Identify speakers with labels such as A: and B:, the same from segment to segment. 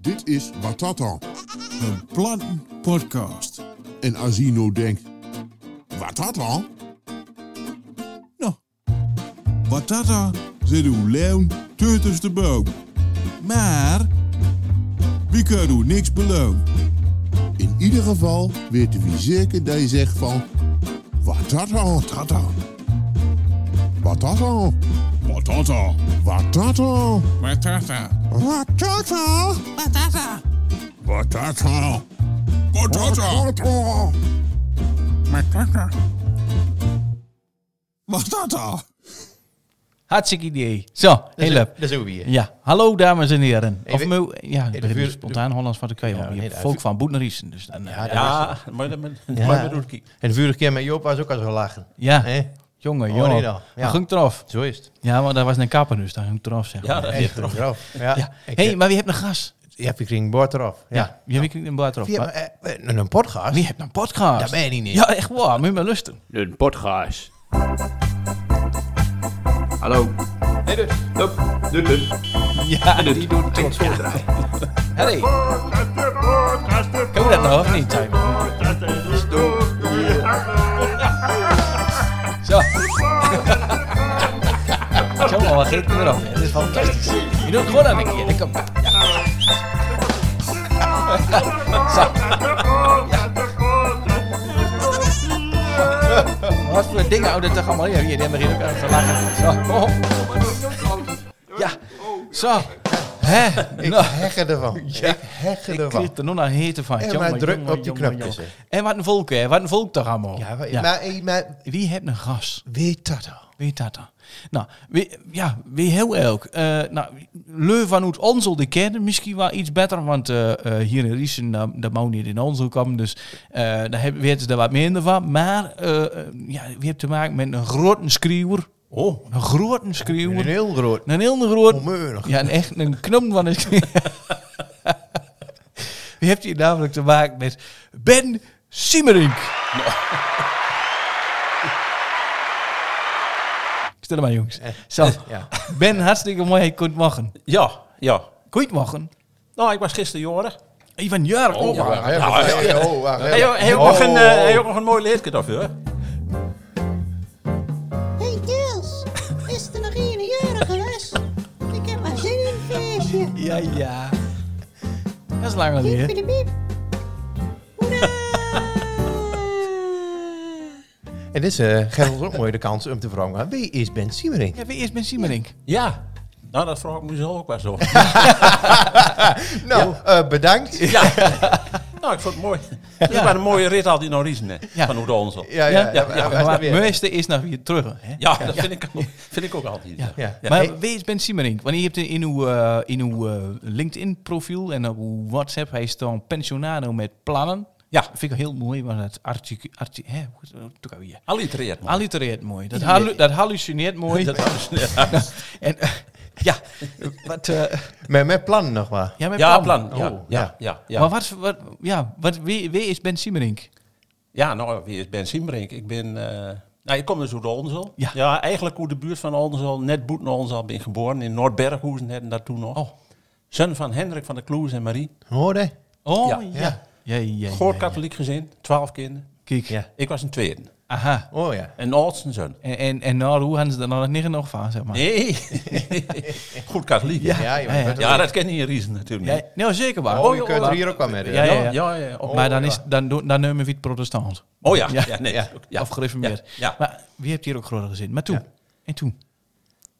A: Dit is Watata.
B: Een planten podcast.
A: En Asino denkt, Watata?
B: Nou, Batata zit uw leeuw tussen de boom. Maar, wie kan u niks beloon?
A: In ieder geval weten we zeker dat je zegt van, Watata, tata. Watata,
B: Batata.
A: Watata,
B: Batata.
A: Watata,
B: Batata.
A: Watata, Watata.
B: Batata. Batata.
C: Hartstikke idee. Zo, heel leuk.
D: Dat zijn we weer.
C: Ja, hallo dames en heren. Of
D: we-
C: mou- ja, ik
D: dus- de
C: begin
D: vuur-
C: nu spontaan Hollands van de Kwijl.
D: Ja,
C: je
D: nee,
C: hebt
D: de
C: volk
D: vuur-
C: van Boetnerissen. Dus dan, eh, ja,
D: Ja,
E: Ja, maar dat moet
D: Ja.
E: maar bedoel ik.
D: En de vorige keer met Joop was ook al zo lachen. Hè?
C: jongen,
D: Oh,
C: jongen.
D: nee dan. Ja.
C: Dat ging eraf.
D: Zo is het.
C: Ja, maar daar was een kapper dus, daar ging het eraf. Zeg.
E: Ja,
C: Ja.
E: dat
D: Echt
E: is
D: erop. eraf. Ja.
C: Ja.
D: Ik
C: hey,
D: heb-
C: maar wie hebt een gas?
D: Ja, ik ging bord eraf.
C: Ja,
D: Ja.
C: wie heb ik een blaad erop?
D: Via
C: Maar-
D: eh, eh, een podcast?
C: Wie hebt een podcast?
D: Dat ben ik niet.
C: Ja, echt waar. Moet je maar lusten.
E: een podcast. Hallo. Hey dus. Hup. Doet het.
C: Ja, die doet het trots Hey. Kan we dat nou of niet, Simon? Zo. Jongen, wat geeft het erop? Het is fantastisch. Je doet het gewoon aan een keer. Kom. Zo. Wat voor dingen houden toch allemaal hier? Hier, die hebben ook aan te lachen. Zo. Ja. Zo. Hè?
D: Ik
C: Nou.
D: heggen ervan. Ik heggen
C: Ik kreeg
D: ervan.
C: er nog naar hete van.
D: En
C: Jongen,
D: maar druk
C: jongen,
D: op die
C: jongen,
D: knopjes,
C: jongen. En wat een volk, hè. Wat een volk toch allemaal.
D: Ja, maar,
C: Ja.
D: maar, eh, maar
C: Wie heeft een gas?
D: weet dat al?
C: Weet dat dan? Nou, wie, ja, wie heel elk. Eh nou, Leu van Oet Onzel, die kennen misschien wel iets beter, want eh, eh, hier in Riesen, nou, dat mag niet in Onzel komen, dus eh, daar hebben- weten ze er wat minder van. Maar eh eh, ja, wie heeft te maken met een grote schreeuwer.
D: Oh,
C: Een grote
D: een
C: schreeuwer.
D: heel groot.
C: Een heel groot.
D: Onmeunig.
C: Ja, een echt een knop van een Wie heeft hier namelijk te maken met Ben Simmerink? Stel maar, jongens. Zo,
D: Eh, Ja.
C: Ben, hartstikke mooi. Je kunt morgen.
E: Ja, ja.
C: Kun je het morgen?
E: Nou, ik was gisteren jaren.
C: Ivan Jark.
E: Oh, ja.
D: Wacht even,
E: Nou,
D: wacht
E: echt.
D: even, oh, wacht
E: Hij
D: even.
E: heeft ook,
D: Oh,
E: nog een, eh,
D: oh,
E: hij heeft ook nog een mooi leedje daarvoor.
F: Hey Tils, is er nog een jaren geweest? Ik heb maar zin in een feestje.
C: Ja, ja. Dat is lang
F: Piep,
C: geleden.
F: piep, piep. Hoera!
D: En dit eh, geeft ons ook mooi de kans om te vragen, wie is Ben Siemering?
C: Ja, wie eerst Ben Simmerink?
E: Ja. Nou, dat vraag ik mezelf ook wel zo.
D: Nou, eh, bedankt.
E: ja. Nou, ik vond het mooi. Het was een mooie rit al die nou riezen, hè.
C: Ja.
E: Van Oede Onzel.
D: Ja,
C: Ja,
D: ja,
C: ja,
D: ja.
C: maar het meeste is nog weer terug. Hè?
E: Ja, dat vind ik, ook- vind ik ook altijd. Ja.
D: Ja.
C: Maar
D: Hey,
C: wie is Ben Simmerink? Wanneer je hebt in uw, eh, in uw eh, LinkedIn-profiel en op uw WhatsApp, hij staan pensionado met plannen.
E: Ja.
C: Dat vind ik heel mooi, want het articu... Arti hè, hoe is het ook alweer?
E: Allitereert, man.
C: Allitereert mooi. Dat, hallu dat hallucineert mooi.
E: Dat alles, ja.
C: en, eh, ja, wat, eh,
D: Met, met plannen nog maar.
C: ja, met
E: Ja,
C: plannen.
E: plan. Ja,
D: Oh,
E: ja,
D: ja.
E: ja, ja.
C: Maar wat, wat, ja, wat, wie, wie is Ben Simmerink?
E: Ja, nou, wie is Ben Simbrink? Ik ben... eh, nou, ik kom dus uit Onzel.
C: Ja.
E: Ja. eigenlijk uit de buurt van Onzel, net boeten Onzel, ben ik geboren. In Noordberghoezen net en daartoe nog.
C: Oh.
E: Zoon van Hendrik van der Kloes en Marie.
D: Hoorde?
C: Oh, ja.
E: Ja.
C: ja. ja, ja,
E: Goor
C: ja.
E: katholiek gezin, twaalf kinderen.
C: Kijk,
D: Ja.
E: Ik was een tweede.
C: aha.
D: Oh ja.
E: Een oudste zoon.
C: En, en, en nou, hoe hadden ze er nog niet genoeg van, zeg maar?
E: Nee, goed katholiek. Ja.
D: Ja,
C: Ja, ja.
D: jongen.
E: ja, dat ken je in Riesen natuurlijk niet.
C: Ja, nou, zeker waar.
D: Oh, je kunt
C: maar-
D: er hier ook wel mee.
C: Ja, ja, ja.
E: ja, Oh, ja, op-
C: maar dan, is, dan, doen- dan nemen we het protestant.
E: Oh ja,
C: Ja.
E: ja, nee.
D: Ja.
E: ja.
C: Of gereformeerd.
E: Ja. Ja.
C: Maar wie heeft hier ook groter gezin? Maar toen. En toen.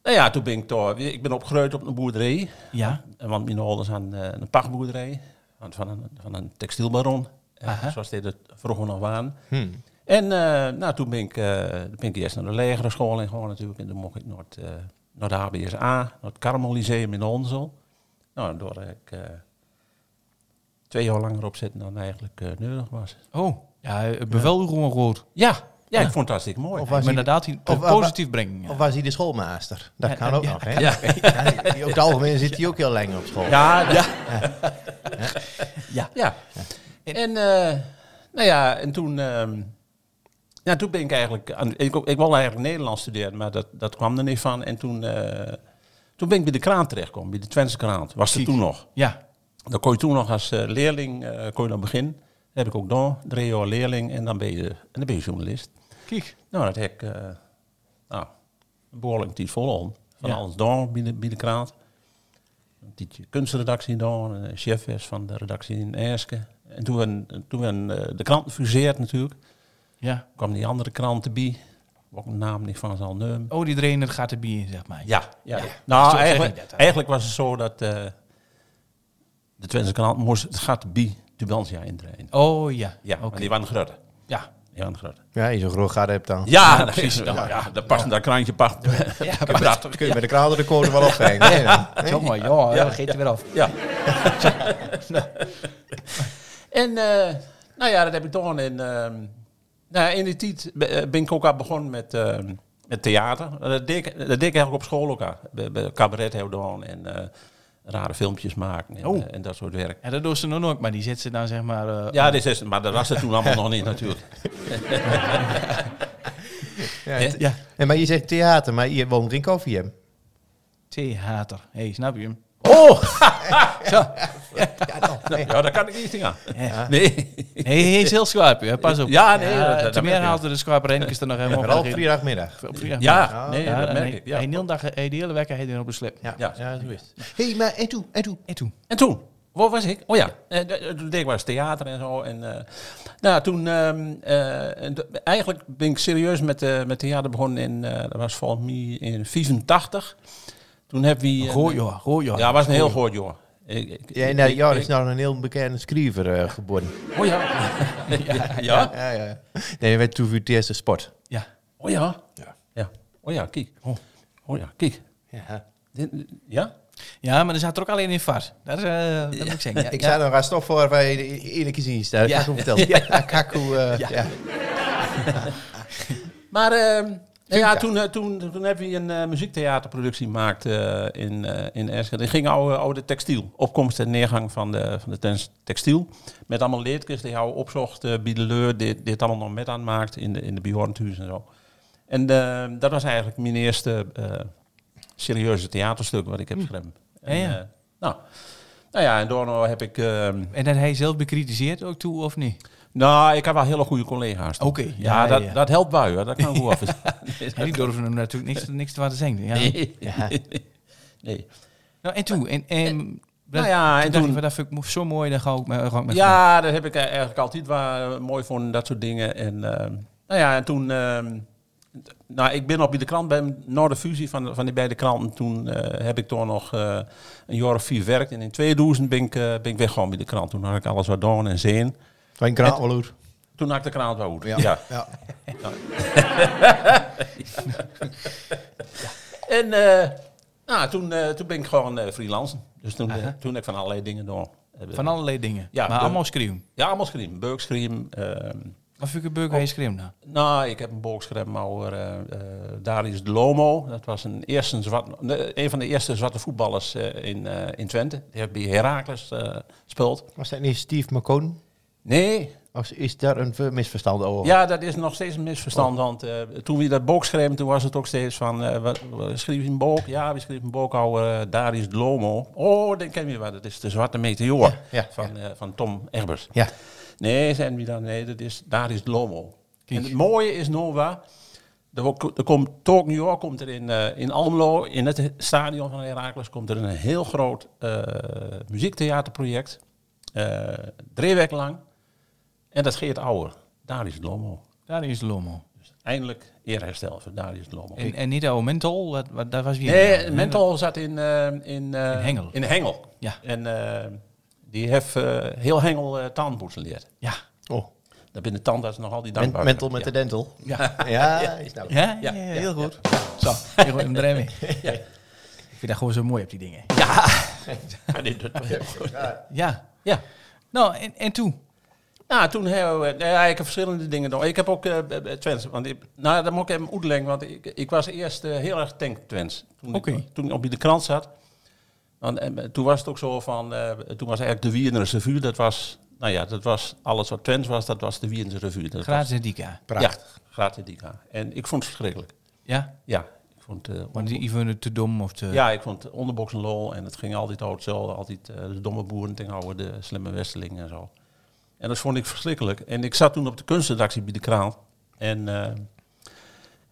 E: Nou ja, toen ben ik toch... Ik ben opgegroeid op een boerderij.
C: Ja.
E: En Want mijn ouders hadden eh, een pachtboerderij van, van, een, van een textielbaron. eh,
C: Aha.
E: zoals dit het vroeger nog waren. En eh, nou, toen ben ik, eh, ben ik eerst naar de lagere school ingegaan natuurlijk. En toen mocht ik naar het, eh, naar de HBSA, naar het Carmel Lyceum in Onzel. Nou, en daar heb ik eh, twee jaar langer op zitten dan eigenlijk eh, nodig was.
C: Oh. Ja, het bevel u gewoon groot.
E: Ja, ja, ik vond het hartstikke mooi.
D: Of
C: Maar
D: was, hij,
C: inderdaad, die
D: of-
C: positief brengen.
D: of was hij de schoolmeester? Dat
C: Ja,
D: kan
C: ja,
D: ook
C: ja.
D: nog, hè? Ja. die- Op het algemeen zit hij ook heel lang op school.
E: Ja, ja. Ja. ja. En, eh, nou ja, en toen, ehm, ja, toen ben ik eigenlijk... Aan, ik, ik wilde eigenlijk Nederlands studeren, maar dat, dat kwam er niet van. En toen, eh, toen ben ik bij de kraan terechtgekomen, bij de Twentse kraan. Was er
C: Kijk.
E: toen nog.
C: Ja.
E: Dan kon je toen nog als eh, leerling eh, kon je dan beginnen. Dat heb ik ook gedaan. Drie jaar leerling en dan ben je, en dan ben je journalist.
C: Kijk.
E: Nou, dat heb ik eh, nou, een behoorlijk tijd vol om. Van
C: Ja.
E: alles door binnen, binnen de kraant. Een tijdje kunstredactie door, eh, chef was van de redactie in Erske. En toen, werden- toen werden, eh, de kranten fuseerd natuurlijk,
C: Ja.
E: kwam die andere kranten bij. Waar ik de naam niet van zal nemen.
C: Oh, die trainer gaat er bier in, zeg maar.
E: Ja, ja.
C: Ja. Zo
E: Nou,
C: zeg
E: eigenlijk,
C: ik dat dan.
E: eigenlijk was het zo dat eh, de Twentse kanaal moest het gat bij Dubantia intrainen.
C: Oh ja.
E: Ja,
C: oké.
E: want die waren groter.
C: Ja.
E: Die waren groter.
D: Ja, je zo'n groot gaat hebt dan.
E: Ja, precies. Ja, ja, dat past dat kraantje past. Ja, prachtig.
D: Kun je met de kraan de code wel ophangen. Ja.
C: Jongen, joh, ja, geet er weer af.
E: Ja. en eh, nou ja, dat heb ik gedaan. En, ehm, nou, ja, in die tijd be- eh, ben ik ook al begonnen met, ehm, met theater. Dat deed, ik, dat deed ik eigenlijk op school ook al. Bij- bij Cabaret heel doen en eh, rare filmpjes maken en,
C: Oh.
E: eh, en dat soort werk.
C: Ja, dat doen ze nog nooit, maar die zet ze dan zeg maar... eh,
E: Ja, dit is, maar dat was het toen allemaal nog niet natuurlijk.
D: Ja, het-
C: Ja,
D: En maar je zegt theater, maar je woont in Koffiehem.
C: theater. Hé, hey, snap je hem?
E: Oh! Ja, daar kan ik niet aan. Nee.
C: Nee, hij is heel scherp, hè. pas op.
E: Ja, nee, dat- dat- dat
C: Te meer
E: merk je.
C: haalde de scherpe Renkes er nog helemaal
D: Vooral
C: op in.
D: vrijdagmiddag.
C: Op vrijdag.
E: Ja, nee, dat merk ik.
C: Hij
E: Ja.
C: heel dag, hij de hele week hij er op een slip.
D: Ja,
E: Ja.
D: ja zo is het. Hé, hey, maar en toen, en toen.
C: En toen?
E: En toen, waar was ik? Oh ja, eh, d- eh, toen deed ik wel eens theater en zo. En, eh, nou, toen, ehm, eh, en d- eigenlijk ben ik serieus met, eh, met theater begonnen in, eh, dat was volgens mij in 85. Toen hebben we... een-
C: Gooi joh, gooi joh.
E: Ja, was een heel goed joh. Ik- ik-
D: Ja, nou,
E: ik-
D: ja, er
E: ik-
D: is nou een heel bekende schrijver eh, geboren.
E: Oh ja. ja. ja.
D: Ja, ja. Nee, hij werd toen voor het eerst een sport.
C: Ja.
E: Oh ja. Ja. Oh ja, kijk. Oh, ja, kijk.
D: Ja.
E: Dit- Ja?
C: ja, maar er zat er ook alleen in vast. Dat, is, eh, dat moet ik zeggen. Ja,
D: Ik
C: ja.
D: zei nog aan stof voor waar je de eerlijk is in
C: Ja.
D: staat. Ja. Kaku vertelde. Ja, Kaku. eh, ja.
E: Maar ehm, nou ja, toen, eh, toen, toen hebben we een eh, muziektheaterproductie gemaakt eh, in, eh in Enschede. Het ging over, over de textiel. Opkomst en neergang van de, van de tens- textiel. Met allemaal leertjes die jou opzocht, eh bij de leur, dit, dit allemaal nog met aanmaakt in de, in de Bjorntuus en zo. En eh, dat was eigenlijk mijn eerste eh, serieuze theaterstuk wat ik heb geschreven. En,
C: Hm. Ja, ja.
E: eh, nou, nou ja, en daarna heb ik... ehm,
C: En dat hij zelf bekritiseerd ook toe, of niet?
E: nou, ik heb wel hele goede collega's. toen.
C: Oké,
E: ja,
C: ja,
E: dat,
C: ja.
E: dat helpt bij, hoor. dat kan ik goed af.
C: En die durven hem natuurlijk niks, niks te laten zeggen. Ja.
E: Nee. nee.
C: Nou, en toen? En, en, dat,
E: Nou ja, en
C: toen dacht
E: toen-
C: ik, dat vind ik zo mooi, daar ga ik, me- ga ik met
E: Ja, dat heb ik eigenlijk altijd waar mooi vond, dat soort dingen. En, ehm, nou ja, en toen... ehm, t- nou, ik ben op bij de krant, bij, na de fusie van, van die beide kranten, toen eh, heb ik toch nog eh, een jaar of vier werkt. En in 2000 ben ik, eh, ben ik weggegaan bij de krant. Toen had ik alles wat doen en zin.
D: Van Kraanweloer.
E: Toen had ik de krant wel goed.
D: Ja.
E: Ja.
D: Ja.
E: En eh, nou, toen, eh, toen ben ik gewoon eh freelance. Dus toen, eh, toen heb ik van allerlei dingen door.
C: Van allerlei dingen.
E: Ja,
C: maar
E: de-
C: allemaal schreeuwen.
E: Ja, allemaal schreeuwen. Beuk schreeuwen, ehm,
C: Wat vind ik een burger, hij schreeuwt nou?
E: Nou, ik heb een boek geschreven over eh eh, Darius de Lomo. Dat was een, eerste zwart, nee, een van de eerste zwarte voetballers eh, in, eh, in Twente. Die heeft bij Heracles eh gespeeld.
D: Was dat niet Steve McCone?
E: Nee,
D: Of is daar een ver- misverstand over?
E: ja, dat is nog steeds een misverstand.
D: Oh.
E: Want eh, toen we dat boek schreven, toen was het ook steeds van... eh wat, wat- schreef je een boek? Ja, we schreven een boek over eh, Darius de Lomo. Oh, dat ken je wel. Dat is de zwarte meteoor
D: ja,
E: van, eh, van Tom Egbers.
D: Ja.
E: Nee, zijn we dan? Nee, dat is, daar is Lomo. En het mooie is Nova. Er, wo- er komt, Talk New York komt er in, eh, in Almelo, in het stadion van Herakles, komt er een heel groot eh, muziektheaterproject. eh drie weken lang. En dat Geert Ouwer. Daar is Lomo.
C: Daar is Lommel.
E: Eindelijk eerherstel voor Daar is Lomo.
C: En, en niet oude mental, wat, wat, dat was weer...
E: Nee, Mental zat in, eh, in, eh,
C: In Hengel.
E: In Hengel.
C: Ja.
E: En eh, die heeft eh, heel Hengel eh tandpoetsen geleerd.
C: Ja.
D: Oh.
E: Daar binnen tandarts nog al die
D: Men-
E: dankbaar.
D: mental
E: voor.
D: met
E: Ja.
D: de dental.
C: Ja.
D: Ja, is nou.
C: Ja, ja, ja, heel goed. Zo, ik gooi hem erin mee. Ik vind dat gewoon zo mooi op die dingen.
E: Ja, dit doet wel heel goed.
C: Ja.
E: Ja.
C: Nou, en, en toen?
E: Nou, toen hebben we... nou ja, ik heb verschillende dingen gedaan. Ik heb ook eh eh, Twents... Want ik, nou, dat moet ik even oedeling. Want ik, ik was eerst eh, heel erg tank Twents. Toen,
C: Oké.
E: ik, toen ik op de krant zat. Want, eh, toen was het ook zo van... eh, toen was eigenlijk de Wienerse Revue. Dat was... Nou ja, dat was alles wat Twents was. Dat was de Wienerse Revue. Dat was-
C: Gratis en Dika.
E: Ja, gratis Dika. En ik vond het verschrikkelijk.
C: Ja?
E: Ja. Ik vond vond, eh,
C: Maar die Yvonne te dom of te...
D: eh,
E: ja, ik vond onderboksen lol en het ging altijd over hetzelfde. Altijd eh, de domme boeren tegen houden, de slimme westeling en zo. En dat vond ik verschrikkelijk. En ik zat toen op de kunstredactie bij de krant. En, eh,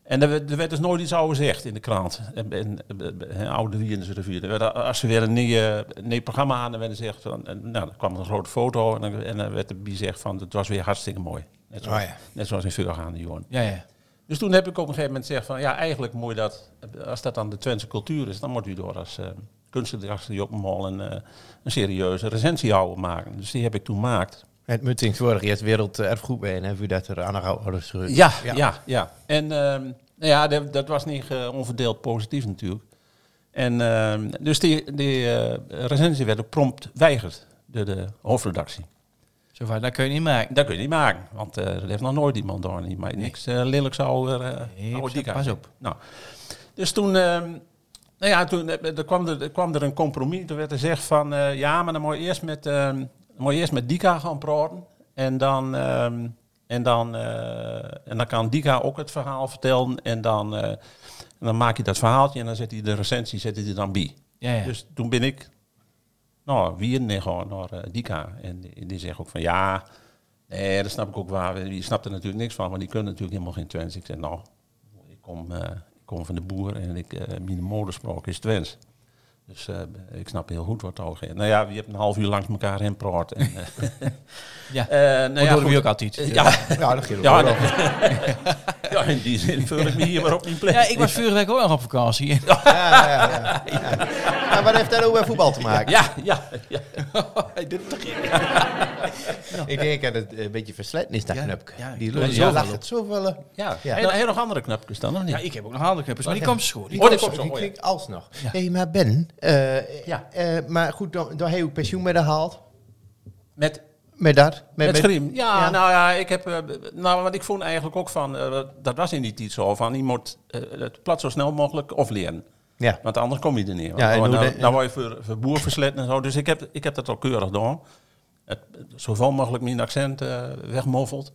E: en er, werd, er werd dus nooit iets over gezegd in de krant. En, en, en, en oude Riense rivier. Er werd, als ze weer een nieuw, eh, nieuw programma aan, dan werd er gezegd... Van, en, nou, dan kwam er een grote foto en dan, en dan werd er gezegd van... Het was weer hartstikke mooi. Net zoals,
D: Oh ja.
E: net zoals in Vuurgaande Johan.
C: ja, ja.
E: Dus toen heb ik op een gegeven moment gezegd van ja, eigenlijk moet je dat, als dat dan de Twentse cultuur is, dan moet u door als uh, kunstredacteur Joppenhol een, eh, een serieuze recensie houden maken. Dus die heb ik toen gemaakt.
D: Het Muttings vorig jaar werelderfgoed bij en hebben we dat er aan ouders gehoord.
E: Ja, ja, ja. En ehm, nou ja, dat, dat was niet eh, onverdeeld positief natuurlijk. En ehm, dus die, die eh, recensie werd ook prompt weigerd door de hoofdredactie.
C: Zo van, dat kun je niet maken.
E: Dat kun je niet maken, want eh, er heeft nog nooit iemand door niet, maar niks eh, lelijks over eh
C: Nee,
E: oude
C: pas op,
E: dik
C: pas
E: aan.
C: op.
E: Nou, dus toen, ehm, nou ja, toen eh, er kwam, er, er kwam er een compromis. Toen werd er gezegd van, eh, ja, maar dan moet je eerst met, ehm, dan moet je eerst met Dika gaan praten. En dan, ehm, en, dan, eh, en dan kan Dika ook het verhaal vertellen. En dan, eh, en dan maak je dat verhaaltje en dan zet hij de recensie zet hij er dan bij.
C: Ja, ja.
E: Dus toen ben ik, nou, wie en gewoon naar eh, Dika. En die, die zegt ook van ja, nee, dat snap ik ook waar. Die snapt er natuurlijk niks van, maar die kunnen natuurlijk helemaal geen Twents. Ik zeg nou, ik kom, eh, ik kom van de boer en ik, eh mijn moderspraak is Twents. Dus eh, ik snap heel goed wat over gaat. Nou ja, je hebt een half uur langs elkaar heen praat. En, eh,
C: ja.
E: eh, nou
C: dat doen we
E: goed.
C: ook altijd.
E: Eh, Ja,
D: Ja, dat ging
E: ja,
D: ook wel.
E: nee. ja, in die zin vul ik me hier maar op mijn plek.
C: Ja, ik was vorige week ook nog op vakantie.
D: Ja, ja, ja. ja. Maar wat heeft dat ook met voetbal te maken?
E: ja, ja, ja. Dit toch
D: Ik denk dat het eh, een beetje verslet is, dat
C: Ja,
D: knupke.
C: ja,
D: die
C: ik
D: lul
C: weet
D: zo
C: het
D: lacht
C: wel.
D: het zoveel. eh,
E: Ja,
D: Ja.
E: ja. Nou, heel nog andere knapjes dan, of niet?
C: Ja, ik heb ook nog handenknuppers, maar die komt schoon.
D: Die
E: Oh,
D: komt
E: die
D: zo,
E: komt zo,
D: die
E: oh ja.
D: klinkt alsnog. Hé, hey, maar Ben, eh,
E: Ja.
D: eh, maar goed, dan, dan heb je ook pensioen met gehaald.
E: Met
D: Met dat? Met,
E: Met
D: met-
E: Griem. Ja,
D: Ja.
E: nou ja, ik heb. eh, nou, want ik vond eigenlijk ook van. eh, dat was in die tijd zo. Van je moet eh, het plat zo snel mogelijk of leren.
D: Ja.
E: Want anders kom je er niet. Nou, Want
D: Ja, en
E: dan,
D: hoe
E: dan,
D: de-
E: dan word je voor, voor boer verslet en zo. Dus ik heb, ik heb dat al keurig door. Het, zoveel mogelijk mijn accent eh wegmoffeld.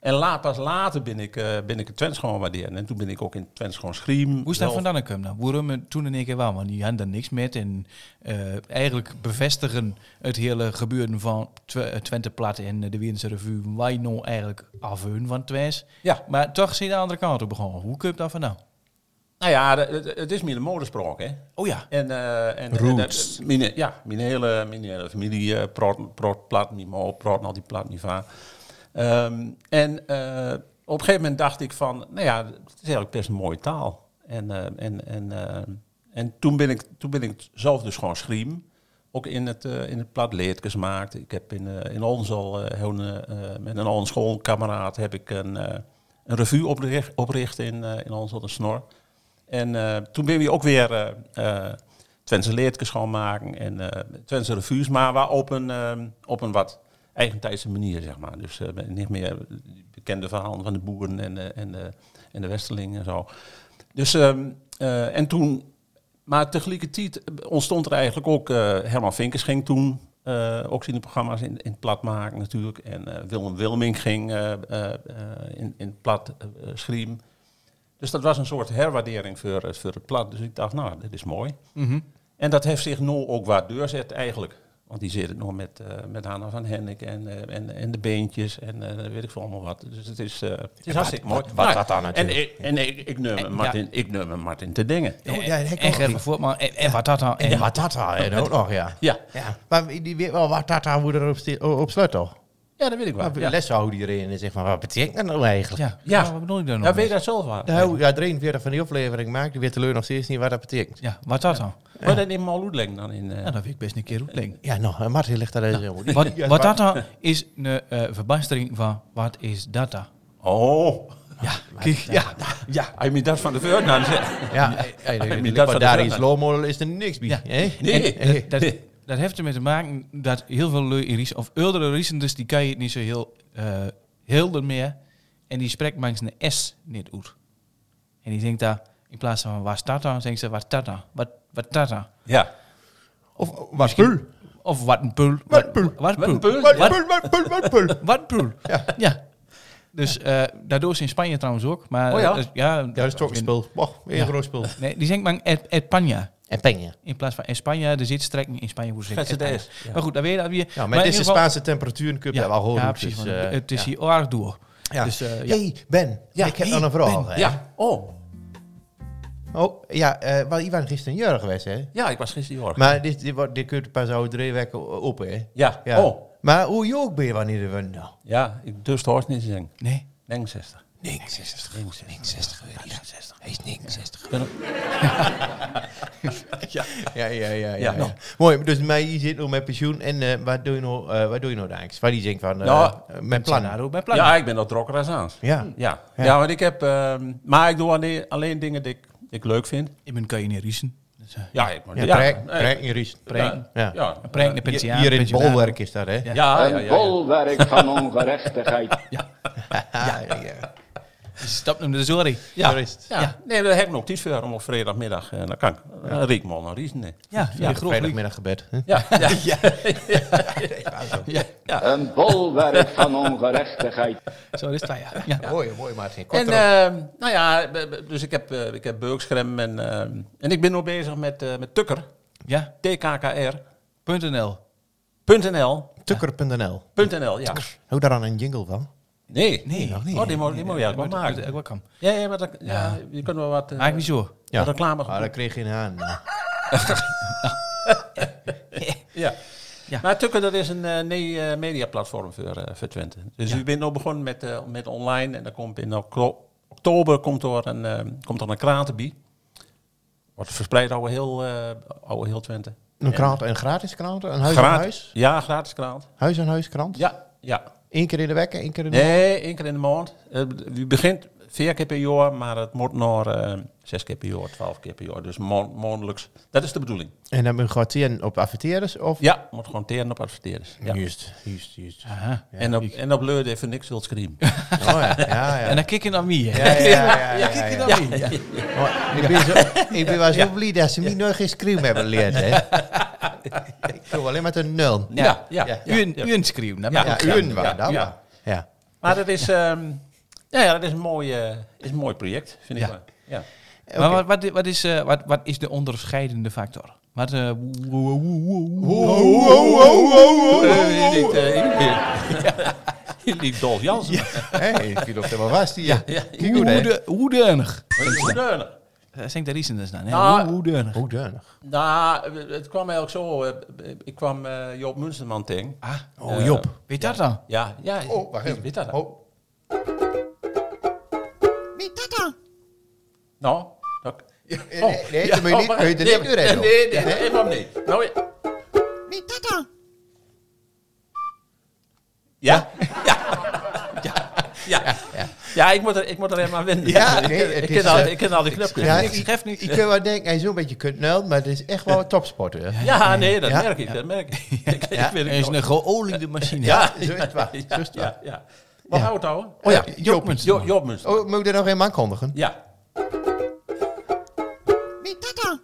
E: En laat, pas later ben ik, eh ben ik het Twents gewoon waarderen. En toen ben ik ook in Twents gewoon schriem.
C: Hoe is dat vandaan gekomen? Nou, waarom het toen in één keer wel? Want die hadden daar niks met. En eh, eigenlijk bevestigen het hele gebeuren van Tw- eh, Twente Plat en eh, de Wierdense Revue... wij nou eigenlijk afheunen van Twents.
E: Ja.
C: Maar toch zit de andere kant op begonnen. Hoe komt dat vandaan?
E: Nou ja, het, het is meer de modespraak, hè?
C: Oh ja.
E: En, eh, en,
C: Roots.
E: en, eh, mijn, ja, mijn hele, mijn hele familie eh proot, proot plat niet meer op, proot al die plat niet van. Ehm, en eh, op een gegeven moment dacht ik van, nou ja, het is eigenlijk best een mooie taal. En, eh, en, en, eh, en toen, ben ik, toen ben ik zelf dus gewoon schriem. Ook in het, eh, in het plat leertjes gemaakt. Ik heb in, eh, in ons al eh, heel, eh, eh, met een al schoolkameraad heb ik een, eh, een revue opricht, opricht in, eh, in ons al de snor. En eh, toen ben je ook weer eh eh Twentse leertjes schoonmaken en eh Twentse revues, maar wel op een, ehm, op een wat eigentijdse manier, zeg maar. Dus eh, niet meer die bekende verhalen van de boeren en, de- en, de, en de westerling en zo. Dus, ehm, eh, en toen, maar tegelijkertijd ontstond er eigenlijk ook, eh, Herman Vinkers ging toen eh, ook in de programma's in, in het plat maken natuurlijk. En eh, Willem Wilming ging eh, eh, eh, in, in het plat eh, eh, schriem. Dus dat was een soort herwaardering voor, het- voor het plat. Dus ik dacht, nou, dit is mooi.
D: Mhm.
E: En dat heeft zich nu ook waar deurzet eigenlijk. Want die zit het nog met, eh met Hanna van Hennik en, eh, en, en de beentjes en eh, weet ik veel allemaal wat. Dus het is, eh, het is hartstikke mooi. Nou,
D: wat- wat dat dan natuurlijk.
E: En, ik- en, ik, ik neem
C: En-
E: Martin, ik neem Martin te dingen.
D: Oh, ja, dat
C: en
D: kan
C: Gerben Voortman. En, en wat dat dan? En
D: En Watata, en ook nog, ja.
E: Ja.
D: ja. Maar die weet wel Watata hoe er op, sti- o- op slot toch?
E: ja, dat weet ik wel.
D: Maar
E: Ja,
D: Les zou die erin en zegt van, wat betekent dat nou eigenlijk?
C: Ja,
E: Ja.
C: ja. wat bedoel ik daar nog?
E: Ja, weet
C: mee?
E: je dat zelf wel?
D: De hou, ja, iedereen weer van die aflevering maakt, die weet teleur nog steeds niet wat dat betekent.
C: Ja, wat dat dan?
E: Maar dat neemt Mal Oedling dan in. eh,
C: Ja, dat weet ik best een keer hoe het klinkt.
D: Ja, nou, en Martin ligt daar eens helemaal niet.
C: Wat, wat dat dan is een eh verbastering van wat is dat dan?
E: Oh,
C: Ja, kijk, ja, ja.
E: hij moet dat van de Veurnaam
D: Ja,
E: zeggen.
D: ja, ja,
E: maar
D: ja,
E: dat
D: ja,
E: van de
D: daar is
E: Vluggen.
D: Lowmodel is er niks bij.
C: Ja.
D: hè?
E: Nee.
C: En dat, dat, dat heeft ermee te maken dat heel veel leu Iris, of oudere Riesen, dus die kan je het niet zo heel eh helder meer. En die spreekt langs een S niet uit. En die denkt daar, in plaats van waar staat dan, denkt ze waar staat dan, wat, wat staat dan.
E: Ja.
D: Of wat pul.
C: Of wat een pul.
D: Wat een pul.
C: Wat een pul.
E: Wat een pul.
C: Wat-
D: Wat pul, wat pul, wat pul.
C: Wat een pul. Ja. Dus eh, daardoor is in Spanje trouwens ook. Maar,
E: Oh ja?
C: eh, ja,
D: Ja, dat is toch een spul. Wacht, weer een
C: Ja.
D: groot spul.
C: Nee, die zingt maar et, Etpanja.
D: En penje.
C: In plaats van Espanja, de zitstrekking in Spanje. Hoe ze zeggen,
E: Gaat ze
C: Espanja.
E: deze? Ja.
C: Maar goed, daar weet je dat weer.
D: Ja, maar het is de
C: in ieder geval-
D: Spaanse temperatuur. Kun je ja, wel horen.
C: Ja, precies.
D: Dus,
C: want
D: eh,
C: het is
D: ja.
C: hier aardig door.
D: Ja.
C: Dus, eh, ja.
D: Hey, Ben. ik heb
C: hey,
D: dan een vraag. hè.
E: Ja, oh.
D: Oh, ja. eh wel, Ivan gisteren jarig geweest, hè?
E: Ja, ik was gisteren Jorg.
D: Maar dit, dit, wordt- dit kun je pas over drie weken o- open, hè?
E: Ja. oh.
D: Maar hoe jong ben je wanneer je wint? Nou,
E: Ja, ik durf het niet te zeggen.
C: Nee.
E: 69.
C: 69.
E: 69. 69.
D: hij is 69.
E: Ik ben
D: Ja, ja, ja. ja,
E: Ja.
D: ja. Mooi, dus mij je zit nog met pensioen. En eh, wat, doe je nou, eh, wat doe je nou eigenlijk? Waar die denkt van, eh
E: Nou,
D: eh, mijn plan. Ja,
C: Daardoor bij
E: ook-
C: plan.
E: ja, ik ben dat drokker als aan.
D: ja.
E: Ja. Ja. want ik heb... ehm, maar ik doe alleen, alleen dingen die ik, die ik leuk vind.
C: Ik ben kan je niet riesen. Dus, eh,
E: Ja, ik moet...
D: ja, prank,
E: nee,
D: prank in Ries.
E: Ja.
D: Ja.
E: Ja.
C: een prank naar
D: Hier-
C: pensioen.
D: Hier in het
C: pensionaar.
D: bolwerk is dat, hè? Ja.
E: Ja, ja,
G: Een
E: ja, ja.
G: bolwerk van ongerechtigheid.
D: ja, ja.
C: Stap hem de sorry.
E: Ja.
D: Zo is het.
E: Ja. Nee, daar heb ik nog tijd voor om op vrijdagmiddag. eh dan kan ik een riekman een riesen. hè.
C: Ja, ja, groot leuk.
D: vrijdagmiddaggebed. hè?
E: Ja. Ja. Ja. Ja. Ja.
G: Een bolwerk van ongerechtigheid.
C: Zo is het, ja. ja.
D: Mooi, mooi, Martin. Kort
E: En
D: erop.
E: ehm, nou ja, b- b- dus ik heb, eh, ik heb Burkscherm en, ehm, en ik ben nog bezig met, eh, met Tukker.
C: Ja,
E: tkkr.nl.
C: .nl.
D: Tukker.nl.
E: .nl, ja.
D: Hoe daar aan een jingle van?
E: Nee.
C: Nee, nog niet.
E: Oh, die moet die moet je ook wel
C: Dat
E: maken.
C: ik wel kan.
E: Ja, ja, maar dat, ja, je kunt wel wat eh,
C: Maakt niet zo.
E: wat reclame
D: Ah, dat kreeg je in aan.
E: Ja.
C: Ja.
E: Maar Tukker, dat is een eh nee media platform voor, eh, voor Twente. Dus u bent nou begonnen met, eh, met online en dan komt in okto- oktober komt er een, eh, komt er een kratenbie. Wordt verspreid over heel, eh, over heel Twente.
D: Een krant, een gratis krant? Een huis aan
E: Gratis-
D: huis?
E: Ja, gratis krant.
D: Huis aan huis krant?
E: Ja, ja.
D: Eén keer in de week, één keer in de
E: Nee, één keer in de maand. Eh, u begint vier keer per jaar, maar het moet naar eh, zes keer per jaar, twaalf keer per jaar. Dus maand- maandelijks. Dat is de bedoeling.
D: En dan moet je zien op adverteerders? Of?
E: Ja, moet gewoon teren op adverteerders. Ja.
D: Juist, juist, juist.
C: Aha.
E: en op, en op Leurde even niks wilt schreeuwen.
D: Oh ja, ja,
C: En
D: ja.
C: dan kijk je naar wie, hè?
D: Ja, ja, ja, ja, ja,
C: Kijk je
D: ja.
C: naar wie? Ja.
D: Maar Ik ben zo- ik ben wel zo blij dat ze me nog geen scream hebben geleerd, hè. Ik wil alleen maar een nul.
E: Ja, ja.
D: ja.
E: ja.
C: Uren- uren schreeuwen, dat
E: Ja.
C: maakt
D: Ja,
C: ook
D: uren waar,
E: ja,
D: dat
E: ja.
D: waar. Ja.
E: Maar dat is, ehm, ja, ja, dat is een mooi, eh, is een mooi project, vind
C: Ja.
E: ik wel. Ja.
C: Maar wat, wat, wat, is, eh, wat, wat is de onderscheidende factor? Wat, eh, woe- woe- woe- woe- woe-
D: Oh,
E: Eh, niet, eh, niet meer. Je liet Dolf Jansen.
D: Hé, ik viel op de wel vast hier.
E: Ja.
D: Kijk hoe, hè.
C: woede- woedeunig.
E: Hoe deunig.
C: Dat zingt de Riesen dus dan, hè?
D: Ah.
E: Nou,
C: Woe- Woedeunig.
D: Hoe danig.
E: Nou, het kwam eigenlijk zo. eh, Ik kwam eh, Joop Munsterman tegen.
C: Ah,
D: Oh, Job.
C: weet dat dan?
E: Ja, ja.
D: Oh, wacht
E: Weet
D: even.
E: dat?
D: Oh,
F: Weet dat dan?
E: Nou, dat... Oh,
D: nee, nee, dat moet je niet-
E: wacht
D: kun je
E: even.
D: er niet
E: nee,
D: doorheen
E: Nee, nee, nee, waarom niet? Nou, ja.
F: Weet dat dan?
E: Ja. Ja. Ja. Ja. Ja, ik moet er, ik moet er helemaal aan winnen.
D: Ja,
E: ik,
D: nee,
E: ken-
D: het
E: ik,
D: is,
E: ken al,
D: eh,
E: ik ken al die knopjes.
D: ja,
E: Ja,
D: ik,
C: geeft niet.
D: ik kan wel denken, hij is zo'n beetje kutnul, maar het is echt wel een topsporter. hè.
E: nee, dat
D: Ja.
E: merk ik. Dat merk ik. Ik- ik
D: Ja.
E: weet
C: Er
E: het
C: is
E: nog.
C: een geoliede machine.
D: Ja, zo is het waar. Zo is het
E: Ja,
D: waar.
E: ja. Wat houdt het houden?
D: Oh ja,
C: Job
D: Joop.
C: Munsterman.
E: Jo, Joop Munsterman.
D: Oh, moet ik dat nog even aankondigen?
E: Ja.
F: Weet dat dan?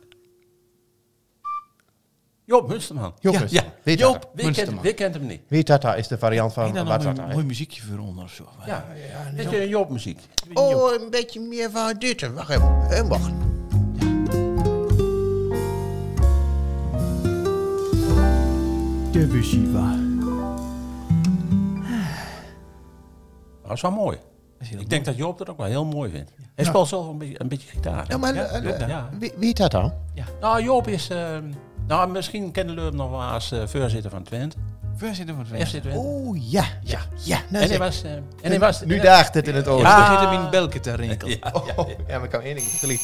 E: Joop Munsterman.
D: Joop
C: Ja,
D: Munsterman.
E: ja.
D: Weet
C: Joop.
D: dat?
E: Wie kent,
C: Munsterman.
E: wie kent hem niet?
D: Weet dat dat is de variant
C: Heb je daar nog
D: van wat
C: een
D: dat
C: mooi,
D: eigenlijk?
C: muziekje voor onder of zo?
E: Ja. ja Dit is een Joop muziek.
D: Oh, een beetje meer van dit. Wacht even. En wacht. Nou,
C: De Bushiva.
E: Dat is wel mooi. Ik denk dat Joop dat ook wel heel mooi vindt. Hij speelt zelf een beetje, een beetje gitaar.
D: Ja, maar
E: ja,
D: eh, eh,
E: ja.
D: wie- weet dat dan?
E: Nou, Joop is... ehm, nou, misschien kennen jullie hem nog wel als eh, voorzitter van Twente.
C: Voorzitter van
E: FC
C: het
E: Twente.
D: Oh ja, ja, ja. nou
E: en hij
D: zeg.
E: was... eh, en hij was
D: nu daagt het in het oor.
E: Ja.
C: begint hem in belken te rinkelen.
D: Oh, oh, Ah. ja, maar ik kan één ding gelijk.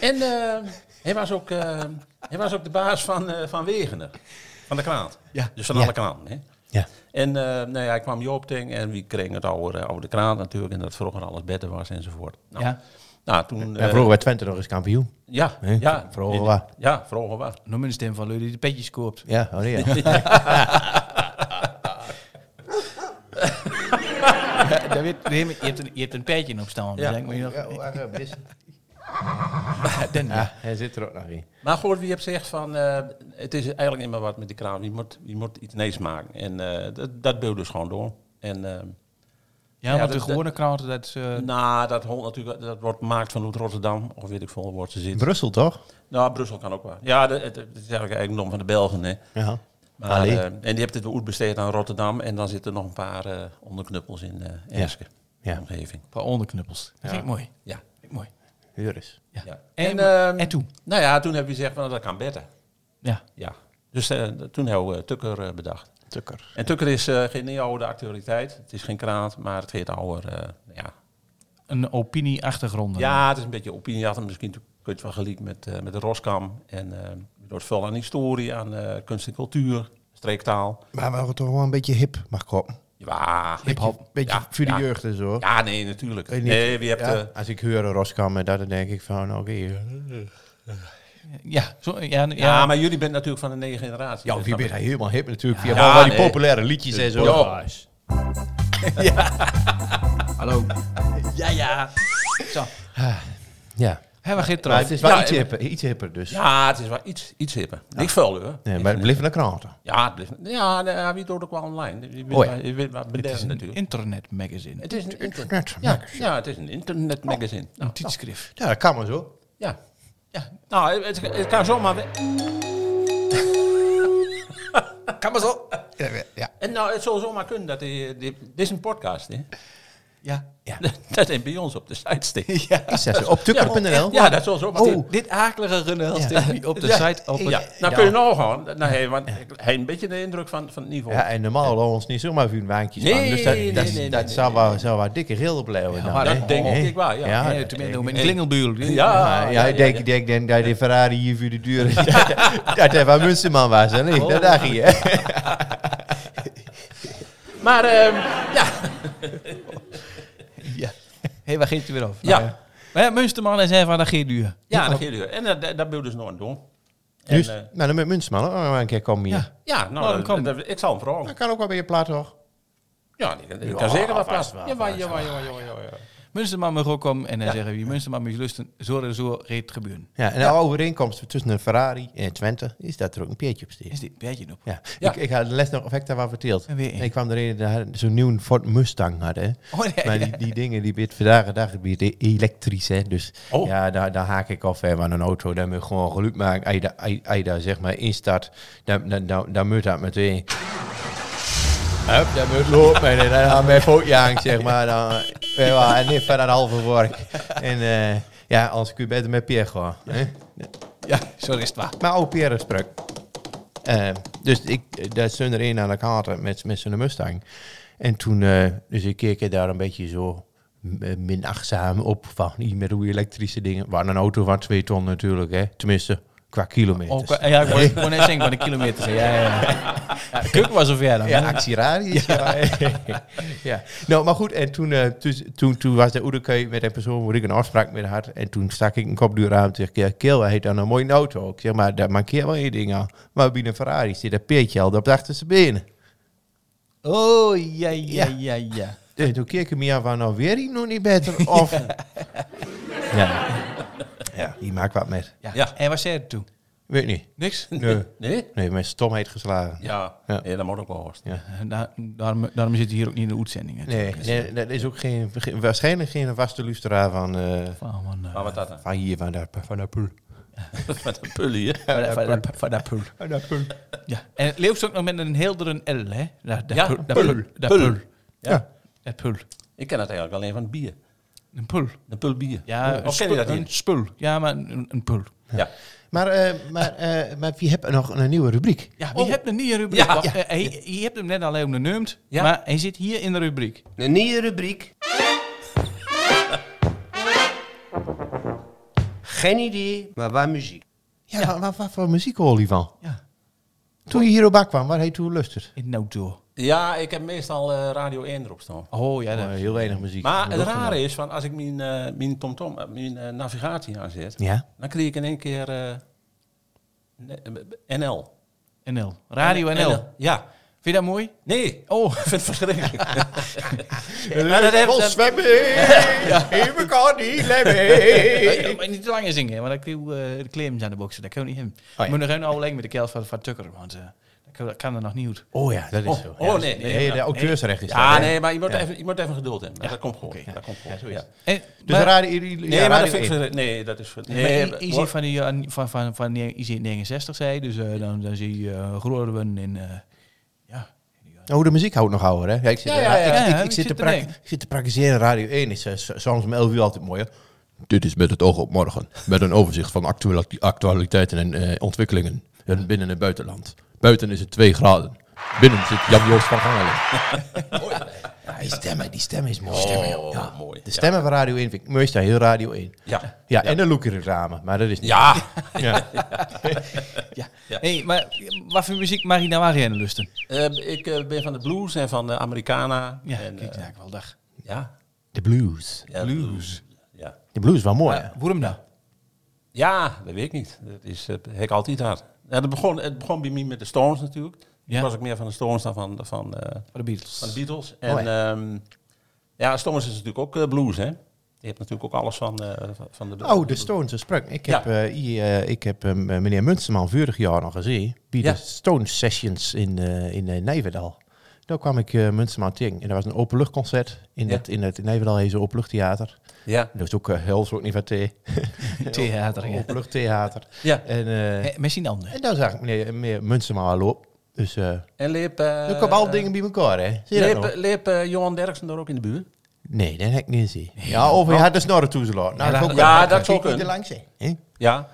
E: En eh, hij, was ook, eh, hij was ook de baas van, eh, van Wegener. Van de krant.
C: Ja.
E: Dus van
D: Ja.
E: alle kranten. Hè?
D: Ja.
E: En eh nou ja, ik kwam Joop tegen en wie kreeg het over, eh, over de krant natuurlijk. En dat vroeger alles beter was enzovoort. Nou,
C: Ja.
E: nou toen...
D: Ja,
E: eh,
D: vroeger werd Twente nog eens kampioen.
E: ja,
D: hè?
E: ja.
D: Vroeger waar.
E: Ja, vroeger waar.
C: Noem een stem van Leu die de petjes koopt.
D: Ja, oh nee. ja.
C: Daar weet- nee, maar je, hebt een, je hebt een petje op staan.
E: Ja.
C: Denk maar je nog,
D: Ja, wacht even, dit is-
C: dan,
D: Ja, hij zit er ook nog in.
E: Maar goed, wie hebt gezegd van, eh, het is eigenlijk niet meer wat met die kraan. Je moet, je moet iets nees maken. En eh, dat, dat beeld dus gewoon door. En eh,
C: Ja,
E: Ja,
C: want
E: dat-
C: de gewone kranten, dat is... eh,
E: Nou, dat, hol- natuurlijk, dat wordt gemaakt vanuit Rotterdam, of weet ik veel waar ze zitten.
D: Brussel toch?
E: nou, Brussel kan ook wel. Ja, dat, dat- dat is eigenlijk eigendom van de Belgen. Hè.
D: Ja.
E: Maar,
D: Allee.
E: eh, en die hebt het weer besteed aan Rotterdam. En dan zitten nog een paar eh, onderknuppels in eh Enske.
D: Ja. Ja.
E: Omgeving.
C: Een paar onderknuppels. Dat vind ik mooi.
E: Ja.
C: Vind ik mooi.
D: Heur eens.
C: Ja.
E: ja.
C: En,
E: ehm,
C: en toen?
E: Nou ja, toen heb je gezegd, van, dat kan beter.
C: Ja.
E: Ja. Dus eh, toen hebben we Tukker eh, bedacht.
D: Tukker.
E: En Tukker is eh, geen neo-oude actualiteit. Het is geen kraat, maar het heet ouder. eh, ja.
C: Een opinie-achtergrond.
E: ja, het is een beetje opinieachtig. Misschien kun je het wel gelijk met, eh, met de Roskam. En eh door het veel aan historie, aan eh, kunst en cultuur, streektaal.
D: Maar we hadden toch wel een beetje hip, mag komen.
E: Ja,
D: Beetje, beetje
E: Ja,
D: voor de
E: ja.
D: jeugd en zo.
E: Ja, nee, natuurlijk.
D: Weet niet.
E: Nee, wie hebt...
D: Ja,
E: eh,
D: Als ik huur een Roskam en dat, dan denk ik van, oké.
C: Ja, zo, ja, ja,
E: ja, maar jullie bent natuurlijk van de negen generatie.
D: ja,
E: Dus
D: of je
E: dan-
D: bent helemaal hip natuurlijk. Via
E: Ja,
D: al die
E: nee.
D: populaire liedjes en zo.
E: Ja.
C: hallo. ja, ja. Zo.
D: ja.
C: Hebben we geen
D: Maar
C: trouw.
D: het is wel
E: Ja, nou,
D: iets,
E: en-
D: hipper, iets hipper dus.
E: Ja, het is wel iets, iets hipper. Niks vuil, hoor.
D: Nee, maar het blijft naar kranten.
E: Ja, het blijft- ja, nee, hij doet ook wel online. Je weet
D: Oh ja.
E: maar- Je weet maar
C: Het is
E: modern
C: een
E: natuurlijk.
C: internetmagazine.
E: Het is een internet.
D: Net.
E: Ja, ja, het is een internetmagazine.
D: Oh.
E: Nou,
C: Een tijdschrift.
D: Ja, dat kan maar zo.
E: Ja. ja. Nou, het, het kan zomaar... we-
C: Kan maar zo.
D: Ja, ja.
E: En nou, het zou zomaar kunnen dat... Die, die, dit is een podcast, hè.
C: Ja.
E: Dat is bij ons op de site staan. Ja,
D: Is dat zo? Op tukker.nl?
E: ja dat zou zomaar kunnen.
C: Dit akelige genel op de
E: Oh. Ja.
C: site. Op het-
E: Ja, nou kun je nou gewoon... Nou, hey, want ik heb een beetje de indruk van, van het niveau.
D: Ja, en normaal laten we ons niet zomaar vuur wijntjes
E: Nee,
D: Dus dat,
E: nee,
D: dat,
E: nee, nee,
D: dat
E: nee,
D: zou, wel, zou wel dikke gilden blijven. dan,
C: maar
D: hè?
E: dat denk
D: Hè?
E: ik wel, ja.
D: ja,
C: Ja, tenminste, met een klingelbuur.
E: Ja,
D: ja, ik denk, ik denk, denk dat die Ferrari hier voor de deur is. dat- dat hij van Munsterman was. Hè?
E: Oh.
D: Nee, dat dacht je. hè?
E: Maar ehm, ja,
C: Ja. Hé, waar geeft u weer over?
E: ja,
C: Nou, Maar ja, Munsterman is even aan de geerduur.
E: ja, dat geeft u. En dat, dat, dat wil dus nooit doen. En,
D: Dus,
E: eh,
D: nou, dan met Munsterman ook nog een keer komen hier.
C: Ja.
E: ja, nou,
C: Nou, dat kan.
E: dat- dat- ik zal hem
D: Dat
E: vragen.
D: kan ook wel bij je plaat, toch?
E: Ja, die- die kan zeker wat passen. Ja, ja, ja, ja.
C: Munsterman mag ook komen en dan zeggen we, Munsterman mag lusten, zo en zo reed gebeuren.
D: Ja, en de overeenkomst tussen een Ferrari en een Twente is dat er ook een peertje op steekt.
C: Is dit beetje op?
D: Ja.
E: Ja.
D: Ik, ik had de les nog, of heb ik daar wel verteld?
C: En weer één.
D: ik kwam erin, daar hadden- zo'n nieuwe Ford Mustang hadden. hè.
C: Oh, nee,
D: maar
C: ja.
D: die, die dingen, die bit vandaag de dag die bit e-, elektrisch, hè. Dus
E: Oh.
D: ja, daar, daar haak ik af, hè. Want een auto, daar moet je gewoon geluid maken. Als je daar- Als je- als je daar, zeg maar, instart, dan, dan, dan, dan moet dat meteen... Hup, dan moet lopen. En dan aan mijn pootje hangt, zeg maar. Dan, ja, en niet van een halve vork. En eh, ja, als kun je beter met Pierre gaan, hè.
C: Ja, zo is het waar.
D: Maar ook Pierre is druk. Eh, dus ik, daar stond er een aan de kaart met, met zijn Mustang. En toen, eh, dus ik keek er daar een beetje zo eh, minachtzaam op. Van, niet met hoe elektrische dingen. Waar een auto van twee ton natuurlijk, hè. Tenminste, qua kilometers.
C: Ook, ja, Oh, ik wou- ik wou net zeggen van de kilometers. Ja, ja, ja. ja Kuk was of jij dan.
D: Ja,
C: Ja.
D: actieradius. Ja. Ja. Nou, maar goed. En toen, eh, dus- toen, toen was de Oedekeu met een persoon waar ik een afspraak mee had. En toen stak ik een kopduur aan. en Toen zei ik, Kiel, hij heeft dan een mooie auto. Ik zeg, maar daar mankeert wel één ding aan. Maar binnen een Ferrari zit dat peertje al op de achterste benen.
C: Oh, ja, ja, ja, ja.
D: En toen keek ik me aan van, nou weer die nog niet beter? Of... ja. ja, die maakt wat met.
C: ja.
E: Ja.
C: En waar zei het toen? Eh,
D: Weet niet.
C: Niks?
D: Nee,
E: Nee?
D: nee mijn stomheid geslagen.
E: Ja,
D: Ja.
E: Nee, dat moet ook wel horen.
C: Da- daarom, daarom zit hij hier ook niet in de uitzending. hè. Dus-
D: Nee, nee, dat is ook geen, geen- waarschijnlijk geen vaste luisteraar van, eh,
C: Van, van, eh,
E: Maar wat dat dan?
D: van hier, van daar, van daar poel.
E: Met een pullen hier.
C: van dat- van dat- van dat pul.
D: Van daar poel.
C: Ja. En het leeuw is ook nog met een heel dun L, hè? Dat, dat
E: Ja,
C: pul. Dat
E: pul.
C: pul. Dat
E: Pul.
C: pul.
D: Ja.
C: Dat pul.
E: Ik ken het eigenlijk alleen van het bier.
C: Een pul.
E: De pulbier.
C: Ja, een,
E: of ken je dat
C: spul-
E: niet?
C: een spul. Ja, maar een, een pul.
E: Ja.
D: Maar, eh, maar, eh, maar wie hebt nog een nieuwe rubriek?
C: Ja, wie hebt hem niet in de rubriek?
E: Ja.
C: Wacht, eh, hij- je hebt hem net alleen benoemd,
E: Ja.
C: maar hij zit hier in de rubriek.
H: Een nieuwe rubriek. Geen idee, maar waar muziek.
D: Ja, wa- wa- Wat, voor muziek hoor je van?
C: Ja.
D: Toen je hier op bak kwam, waar heet toen lustert?
C: In nou door.
E: ja, ik heb meestal eh, Radio 1 erop staan.
C: Oh ja, dat-
D: Eh, heel weinig muziek.
E: Maar
D: Dat
E: het
D: was er
E: rare
D: nog.
E: is, van als ik mijn, eh mijn tomtom, eh, mijn eh, navigatie aanzet,
D: Ja.
E: dan kreeg ik in één keer eh, ne- eh, NL.
C: NL. Radio NL.
E: Ja.
C: Vind je dat mooi?
E: Nee,
C: Oh,
E: ik vind het verschrikkelijk.
D: Maar Nou, dat
E: heeft-
D: heeft Even kan niet leven.
C: ja, maar niet te lang zingen, want ik wil eh de claims aan de boxen. Dat kan niet hem.
D: ja.
C: Moet nog een oude leng met de kels van, van Tucker, want eh, dat kan- kan er nog niet uit.
D: Oh ja, dat is zo.
E: oh,
D: Ja,
E: nee,
D: dus-
E: nee,
D: de auteursrecht is
E: Ja,
D: dat, hè?
E: Ah, nee, maar je moet,
D: Ja.
E: even, je moet even geduld hebben. Dat komt goed. Dat komt goed.
D: Ja, zo is
E: ja.
D: het.
C: En,
D: Dus
C: Eh, maar-
D: radio,
E: Nee,
D: ja,
E: maar
D: radio
E: dat vind ik...
D: één.
E: ver- Nee, dat is... ver-
C: Nee,
E: maar-
C: IC van, die, eh, van, van, van die IC 69 zei, dus eh, dan, dan zie je eh Groningen in... eh, ja.
D: Oh, de muziek houdt nog ouder, hè? Ja, ik zit,
C: Ja, ja, ja.
D: ik- ik-
C: Ja,
D: ik,
C: ik
D: zit te
C: zit
D: pra-
C: erin.
D: ik zit te praktiseren. Radio 1 is eh, s- soms om 11 uur altijd mooi, hè? Dit is met het oog op morgen. Met een overzicht van actuele- actualiteiten en eh, ontwikkelingen en binnen en buitenland. Buiten is het 2 graden. Binnen zit Jan-Joost van Gangelen. ja, die stemmen, die stem is mooi. Stemmen, joh. ja.
E: mooi.
D: De stemmen van Radio 1 vind ik meestal heel Radio 1.
E: Ja.
D: Ja, en de Loekie-reclame, maar dat is niet...
E: Ja.
D: Ja.
C: Ja. Hey, maar wat voor muziek mag je nou aan rennen lusten?
E: Eh, ik eh, ben van de blues en van de Americana.
C: Ja,
E: en,
C: kijk,
E: eh,
C: daar wel dag.
E: ja.
D: De blues.
E: ja, blues. Ja.
D: De blues was mooi, hè?
C: Ja, waarom nou?
E: ja, dat weet ik niet. Dat is, eh, heb ik altijd had. Ja, dat begon, het begon bij mij met de Stones natuurlijk.
C: Ja.
E: Toen was ik meer van de Stones dan van, van, eh,
C: Voor de Beatles.
E: van de Beatles. En
D: Oh,
E: ja, ja Stones is natuurlijk ook eh, blues, hè? Je hebt natuurlijk ook alles van, eh, van- van de...
D: Oh, de Stones een sprak. Ik
E: Ja.
D: heb, eh, hier, eh, ik heb eh, meneer Munsterman vorig jaar nog gezien bij
E: Ja.
D: de Stones Sessions in, eh, in eh, Nijverdal. Daar kwam ik eh, Munsterman tegen. En dat was een openluchtconcert. In,
E: Ja.
D: het, in, het, in Nijverdal heeft ze openluchttheater.
E: Ja.
D: Dat is ook eh, heel soort niet van thee.
C: Theater,
D: Oh.
C: ja.
D: Openluchttheater.
E: Ja.
D: En, eh,
C: Eh, Misschien anders.
D: en daar zag ik meneer, meneer Munsterman al op. Dus eh
E: En leep... eh,
D: er kwamen al dingen bij elkaar, hè? Zie je dat
E: Leep,
D: nog?
E: leep eh, Johan Derksen daar ook in de buurt?
D: Nee, dat heb ik niet gezien. Ja, of hij had de snorren toegelaten. Nou,
C: Ja,
D: dat ook
E: Oh. ja,
D: wel.
E: dat
D: Dan
E: zou
D: kijk ik
E: kunnen.
D: er langs heen. Hè?
E: Ja.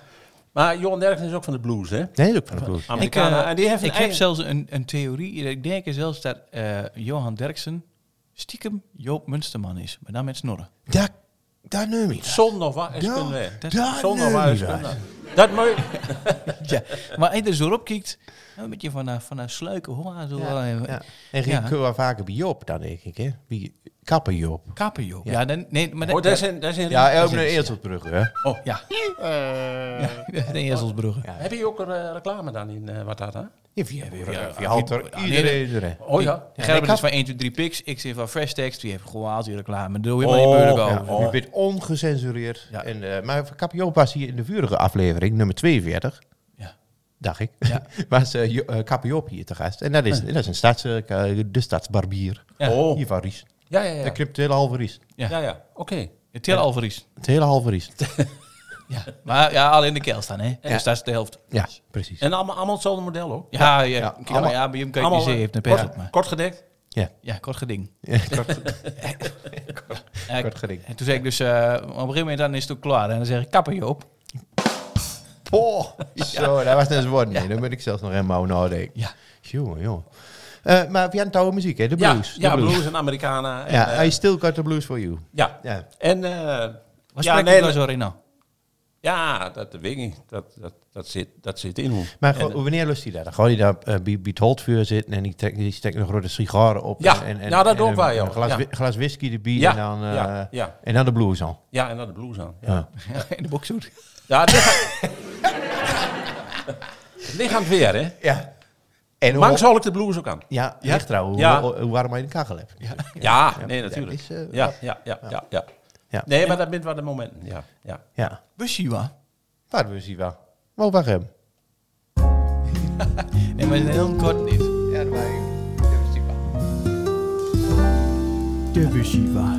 E: Maar Johan Derksen is ook van de blues, hè?
D: Nee, dat is ook van de blues.
C: Ik,
E: Americana.
C: eh,
E: en die heeft een
C: ik heb
E: eigen-
C: zelfs een, een theorie. Ik denk zelfs dat eh, Johan Derksen stiekem Joop Munsterman is. Maar dan met snorren.
D: Daar, daar neem ik.
E: Zonder wat is
D: Ja,
E: kunnen
C: dat-
D: daar
E: Zonder
D: neem
E: wat
D: ik
E: is
D: dat.
E: kunnen Dat moet...
C: Ja. Maar als je er zo op kijkt, een beetje van, eh, van een sluike hoor. Zo, eh,
D: Ja. En ging
C: Ja.
D: ik wel vaker bij Job dan, denk ik. Hè? Bij kapper Job.
C: Kappen, joh. Ja, dan, nee, maar
E: Oh, dat is een... Dat is een
D: Ja, ook naar Eerselbrug, hè?
C: Oh, ja. ja de Ezelsbrugge. Ja.
E: Heb je ook een eh, reclame dan in eh, wat dat, hè?
D: Ja, via, via, via Halter.
C: ja,
D: Iedereen,
C: nee,
D: iedereen.
E: Oh ja.
C: Gerben
D: had-
C: is van 1, 2, 3 pics. Ik zit van Fresh Text. Die heeft gewoon Azië reclame. Doe je
E: Oh,
C: maar je beurlijk
E: ja.
C: over.
D: Ja, Je bent ongecensureerd.
C: Ja.
D: En, eh, maar van kapper Job was hier in de vorige aflevering, nummer 42,
C: Ja.
D: dacht ik. was eh Jo- eh, kapper Job hier te gast. En dat is, dat is een stads, eh, de stadsbarbier.
C: Ja.
E: Oh.
D: Hier van Ries.
E: Ja, ja, ja.
D: Dat knipt het hele halve Ries.
C: Ja.
E: Ja, ja. Oké.
C: Het Tel Alvaries.
D: Het hele halve Ries.
C: Ja. Maar ja, alleen de keel staan, hè? Dus dat is de helft.
D: Ja, precies.
E: En allemaal, allemaal hetzelfde model ook.
C: Ja, ja.
D: Ja,
C: ja,
D: allemaal-
C: maar ja bij hem kan je niet
E: Allemaal eh,
C: zien, heeft een pers op.
E: kort,
C: Maar.
E: kort gedekt.
D: Ja.
C: Ja, kort geding. Eh,
D: Kort geding.
C: En toen zei ik dus, eh, op een gegeven moment dan is het ook klaar. En dan zeg ik, kapper Joop.
D: Poh, zo, daar was net eens woord. Nee, daar moet ik zelfs nog helemaal over nadenken.
C: Ja.
D: Jongen, jongen. Eh, maar via oude muziek, hè? De
E: Ja,
D: blues.
E: ja
D: de
E: blues. en Americana. En,
D: Ja,
E: eh,
D: I still got the blues for you.
E: ja.
D: Ja.
E: En... eh,
C: Wat
E: ja,
C: spreek
E: nee,
C: je daar
E: dat-
C: zo in nou?
E: Ja, dat weet ik niet. Dat, dat, dat, zit, dat zit in hoe.
D: Maar gewoon, wanneer lust hij dat? Dan gaat hij daar eh, bij bij het holdvuur zitten en die trekt, die steekt nog grote sigaren op.
E: Ja,
D: en, en,
E: nou, dat ook
D: een-
E: wel, joh.
D: Een glas,
E: Ja.
D: wi- glas whisky erbij
E: Ja,
D: en, dan, eh,
E: ja, ja.
D: en dan de blues al.
E: Ja, en dan de blues aan. Ja,
D: Ja.
C: In de boxhoed.
E: ja dit... het ligt aan het weer, hè?
D: ja. En
E: Lang
D: hoe,
E: zal ik de blues ook aan.
D: ja, ligt trouw hoe,
E: Ja.
D: hoe- hoe warm hij de kachel hebt. Ja.
E: Ja, nee, natuurlijk.
D: is, eh,
E: Ja, ja, ja, ja, ja.
D: Ja.
E: Nee, maar dat bent wel de momenten. Ja, ja.
D: ja.
C: Bushiwa.
D: Waar we zien wel. Maar waar hem?
C: Nee, maar heel kort niet.
D: Ja, waar
C: De Bushiwa.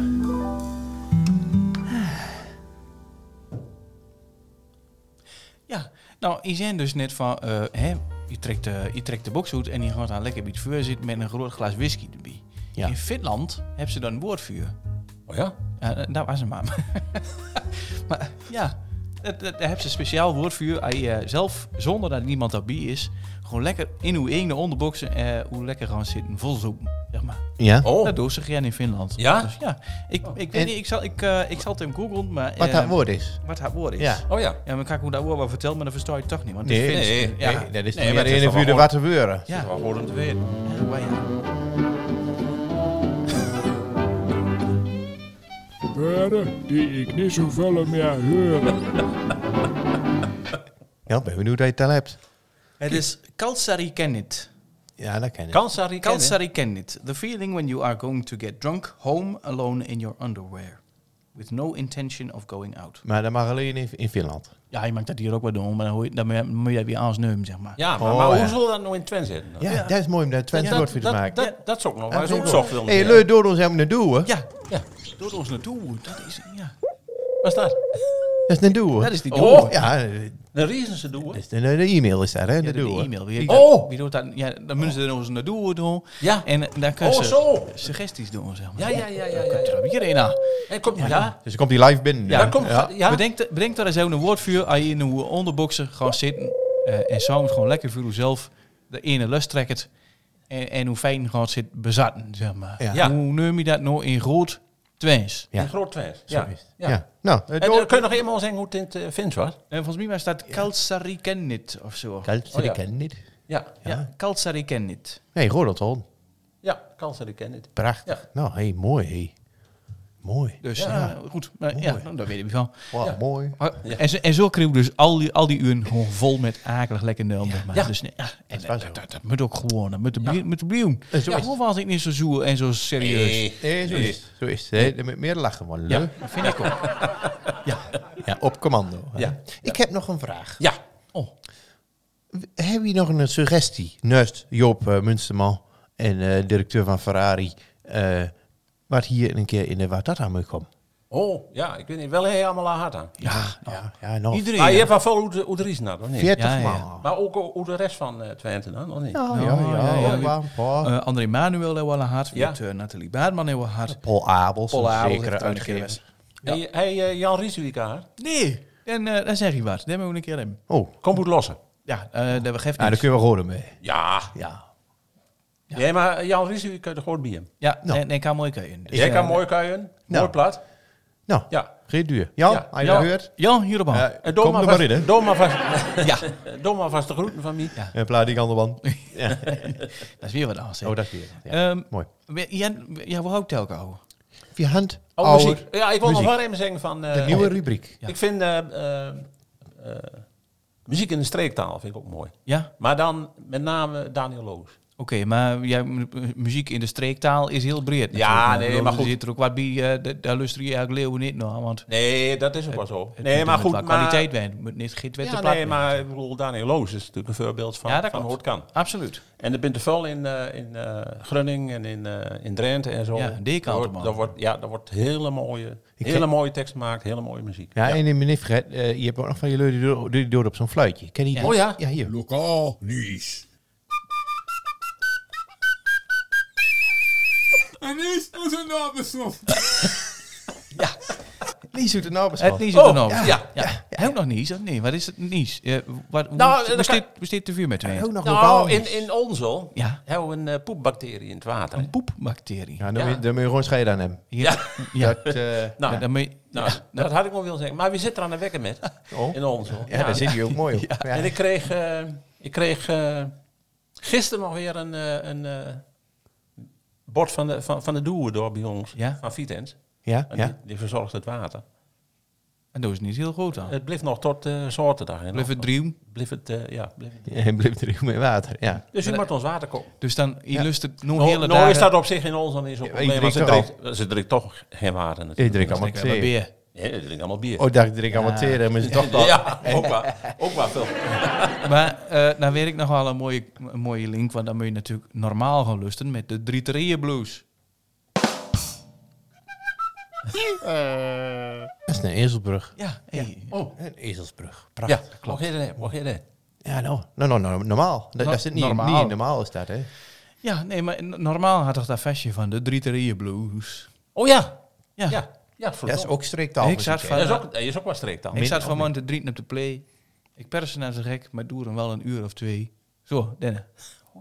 C: Ja, nou, je zei dus net van, eh, hè, je, trekt de, je trekt de boxhoed en je gaat dan lekker bij het vuur zitten met een groot glas whisky erbij.
D: Ja.
C: In Finland hebben ze dan een woordvuur.
E: Oh ja?
C: Ja, da- dat was hem maar. maar ja, dat, dat, daar hebben ze een speciaal woord voor je. Als je, eh, zelf, zonder dat niemand daarbij is, gewoon lekker in uw ene onderboxen, eh, hoe lekker gaan zitten, volzoeken, zeg maar.
D: Ja.
E: Oh,
C: Dat doen ze graag in Finland.
E: Ja?
C: Dus ja, ik, ik
D: Oh. En-
C: weet niet, ik zal, ik, eh, ik zal het hem googlen, maar...
D: Wat
C: eh,
D: dat woord is.
C: Wat haar woord is.
D: Ja.
E: oh ja.
C: Ja, maar kan ik hoe dat woord wel vertellen, maar dan versta je het toch niet. Want
D: Nee,
C: het Fins-
E: nee,
C: ja,
D: Nee, dat is
E: Nee,
D: niet
E: maar
D: meer
E: het is
D: een
E: toch
D: vuur de
E: wel-
D: wat te weuren.
E: Ja.
C: Ja,
E: Wel goed om te weten.
C: ja, waar ja.
I: Woorden die ik niet zoveel meer hoor.
D: Ja, ben benieuwd dat je het al hebt.
C: Het is Kalsari Kennet.
D: Ja, dat ken ik.
E: Kansari kennen.
C: Kalsari Kennet. The feeling when you are going to get drunk, home, alone in your underwear. with no intention of going out.
D: Maar dat mag alleen in, in Finland.
C: Ja, je maakt dat hier ook wel doen, maar dan, hoor je, dan moet je- moet je dat weer aansneumen, zeg maar.
E: Ja, maar,
D: Oh,
E: maar
D: ja.
E: hoe zullen we dat nou in Twente zetten? dan?
D: Ja, dat is mooi om daar Twente
E: dat,
D: woord voor te
E: dat,
D: maken.
E: dat, dat is ook nog.
D: Ja,
E: Waar is ook
D: zeker.
E: zocht willen.
D: hey, leuk door ons hebben een duwen.
C: Ja,
E: Ja,
C: doet ons naartoe. Dat is, ja,
E: wat is dat?
D: Dat is een duwen.
C: dat is die
E: Oh,
C: doel.
D: Ja, dat
E: De Riesense doen.
D: is de, de e-mail is daar, hè?
C: Ja,
D: de
C: de, de
D: duwen.
C: e-mail. Wie,
E: Oh!
C: Wie doet dat? Ja, dan moeten ze er nog eens naar doel doen.
E: Ja.
C: En eh, daar kunnen
E: Oh,
C: ze
E: zo.
C: suggesties doen, zeg maar.
E: Ja, ja, ja, ja. ja,
C: Komt er
E: ja.
C: ook hierheen aan.
E: En komt ja.
D: Dus dan komt die live binnen.
E: Ja, komt
D: ja.
E: ja.
C: Bedenk, bedenk daar eens even een woord voor. Als je in een onderboxer gewoon zitten eh, en sound gewoon lekker voor jezelf de ene lust trekt. En, en hoe fijn gewoon zit bezatten, zeg maar.
D: Ja.
E: Ja.
C: Hoe noem je dat nou in groot Twents?
D: Ja.
E: In groot Twente. Ja.
D: Ja.
E: ja.
D: Nou, eh,
E: En
D: door-
E: eh, kun je nog eenmaal zeggen hoe het in het eh, Fins was?
C: En Nou, volgens mij was dat Kalsarikennit of zo.
D: Kaltje,
E: Oh, ja.
D: ik ken niet.
E: Ja.
C: ja, Kalsarikennit.
D: Nee, Rodelton.
E: Ja, kansen die kennen het.
D: Prachtig.
E: Ja.
D: Nou, hey, mooi. Hey. Mooi.
C: Dus
D: ja.
C: eh, goed, maar, ja, nou, daar weet ik niet van.
D: Wauw, mooi.
C: Maar- En, zo, en zo kreeg ik dus al die, al die uren gewoon vol met akelig lekker nul. Ja.
E: Ja.
C: Dus, nee, ja, en
D: is waar
C: dat,
D: zo.
C: dat, dat moet ook gewoon. Dat moet de blie- moet de blieven.
D: En zo is Eh,
C: Hoe was ik niet zo zoer en zo serieus?
E: Eh.
D: Nee, zo is het. Zo is het. hè. Met meer lachen, man. Leuk.
C: Dat vind ik ook.
D: Ja, op commando. hè.
E: Ja.
D: Ik heb nog een vraag.
E: Ja.
C: Oh,
D: Heb je nog een suggestie? Nust, Joop eh, Munsterman en eh, directeur van Ferrari. eh, wat hier een keer in de Watata moet komen.
E: Oh, ja, ik weet niet. Wel heel allemaal aan hard aan.
D: Ja, ja, ja nog
C: Iedereen.
E: Maar je hebt wel veel hoe de, hoe de Riesen had, of niet?
D: 40
C: Ja, ja.
D: maal.
E: Maar ook hoe de rest van eh, Twente dan, of niet?
D: Ja, ja, ja.
C: ja, ja.
D: Oh, waar- waar-
C: Eh, André Manuel heel wel hard.
E: Ja.
C: Met, eh, Nathalie Baarman heel wel hard.
D: Paul Abels,
C: Paul
D: een
C: Abels heeft
D: zekere
C: het ook een keer
D: uitgever.
E: Hey, hey, eh, Jan Riesewijk aan hard.
C: Nee, en eh dan zeg je wat. Daar moet ik een keer in.
D: Oh,
E: Kom goed lossen.
C: Ja, eh dat begeeft
D: nou, daar
C: niks.
D: kunnen we gewoon mee.
E: Ja.
D: Ja.
E: ja. Nee, maar eh, Jan Riesewijk kan er gewoon bij hem.
C: Ja, nee, nee, kan mooi kunnen. Dus,
E: Jij
C: eh,
E: kan mooi kuien.
D: Nou.
E: Mooi plat.
D: Nou,
E: Ja.
D: geen duur. Jan,
E: Ja.
D: heb je
E: Ja.
D: dat gehoord?
C: Jan, hierop aan.
D: Ja,
E: En
D: kom er maar in, hè.
E: Doma vast, ja. Doma vast de groeten van mij.
D: En plaat die andere man.
C: dat is weer wat anders. hè.
D: Oh, dat is weer. Ja.
C: Ehm,
D: Mooi.
C: we- Jan, ja, hoe houdt telk houden?
D: Via hand,
E: Oh,
D: ouder,
E: muziek. Ja, ik wil nog
D: muziek.
E: wel even zeggen van... eh,
D: De nieuwe rubriek.
E: Ik vind eh, eh, eh, muziek in de streektaal vind ik ook mooi.
C: Ja?
E: Maar dan met name Daniel Loos.
C: Oké, maar ja, mu- muziek in de streektaal is heel breed.
E: Ja,
C: natuurlijk.
E: nee,
C: Ik bedoel,
E: maar
C: er
E: goed.
C: zit er ook wat bij, eh, da- daar luister je eigenlijk leeuwen niet naar, want het
E: Nee, dat is ook wel zo.
C: moet
E: Nee, maar
C: met
E: goed.
C: wat
E: Maar,
C: kwaliteit bij, het moet niet geen witte
E: ja,
C: plaat bij.
E: nee, maar ik bedoel, Daniel Loos is natuurlijk een voorbeeld van,
C: Ja, dat
E: van hoe
C: klopt.
E: het kan.
C: Absoluut.
E: En er bent er veel in, eh, in eh, Groningen en in, eh, in Drenthe en zo.
C: Ja, die kant
E: Daar
C: op, man.
E: wordt, daar wordt, ja, daar wordt hele mooie,
D: Ik
E: hele
D: ken-
E: mooie tekst gemaakt, hele mooie muziek.
D: Ja, en in meneer Fred, eh, je hebt ook nog van je leu die door- die door op zo'n fluitje. Ken je die?
E: Oh ja?
D: Ja, hier.
I: Lokaal nieuws. En is het een nabesnof.
D: Lies uit de nabers
C: Het Nies
E: Oh,
C: er nog.
E: ja,
C: ja. Hij ook nog Nies? of Nee, wat is het Nies? Eh, wat, hoe-
E: Nou, dat
C: besteedt-
E: kan-
C: besteedt de vuur met twee?
D: Ook nog lokaal
E: Nou, in,
D: nieuws.
E: in Onzel
C: Ja.
E: hebben we een eh, poepbacterie in het water. hè.
C: Een poepbacterie.
D: Ja, dan,
E: Ja.
D: Moet je, dan moet je gewoon scheiden aan hem.
C: Ja. ja.
D: Dat, eh,
E: Nou,
C: Ja, dan moet je-
E: Nou, dat had ik nog willen zeggen. Maar wie zit er aan de wekker met?
D: Oh.
E: In ons. hoor.
D: ja, daar zit hij ook mooi op. Ja.
E: En ik kreeg, eh, ik kreeg eh, gisteren nog weer een, eh, een eh, bord van de, van, van de doer door bij ons.
C: Ja.
E: Van Vitens.
D: Ja,
E: En
D: ja.
E: Die, die verzorgt het water.
C: En dat is niet heel groot dan.
E: Het bleef nog tot eh zaterdag. hè,
C: Blijf
E: nog.
C: het drieën.
E: Bleef het, eh, ja. bleef het.
D: En bleef er ook mee water. Ja.
E: Dus u moet ons water kopen.
C: Dus dan illustreert nog
E: Nou,
C: hele
E: nou
C: dagen...
E: is dat op zich in ons dan weer zo'n
D: ik
E: probleem.
D: drink
E: want Ze
D: toch al-
E: drinkt, ze drinkt toch geen water
D: Ik
E: natuurlijk.
D: drink allemaal
C: Ik heb een
D: thee.
C: beer.
E: Ja, ze drinkt allemaal bier.
D: Oh, daar drink ik allemaal thee. Maar ze toch wel.
E: ja, ook wel. Ook wel veel.
C: Maar eh nou weet ik nog wel een mooie, een mooie link, want dan moet je natuurlijk normaal gaan lusten met de drie drieën blues.
D: Dat is een ezelsbrug.
C: Ja, hey.
E: Oh.
D: Een ezelsbrug.
E: Ja,
D: Prachtig.
E: mocht je dat? Mocht je dat?
D: Ja, nou, nou, nou, nou, normaal. Dat,
C: No-
D: dat zit niet, normaal.
C: normaal.
D: niet in normaal is dat, hè?
C: ja nee, maar n- normaal had toch dat vestje van de drie drieën blues.
E: Oh ja.
C: Ja,
E: Ja, ja
D: Dat
E: verdomme.
D: is ook streektaal.
C: Ik zat van-
E: Dat is ook, dat is ook wel streektaal.
C: ik zat vanmorgen te drieten op de play. Ik persen naar de gek, maar doe hem wel een uur of twee. Zo, Denne.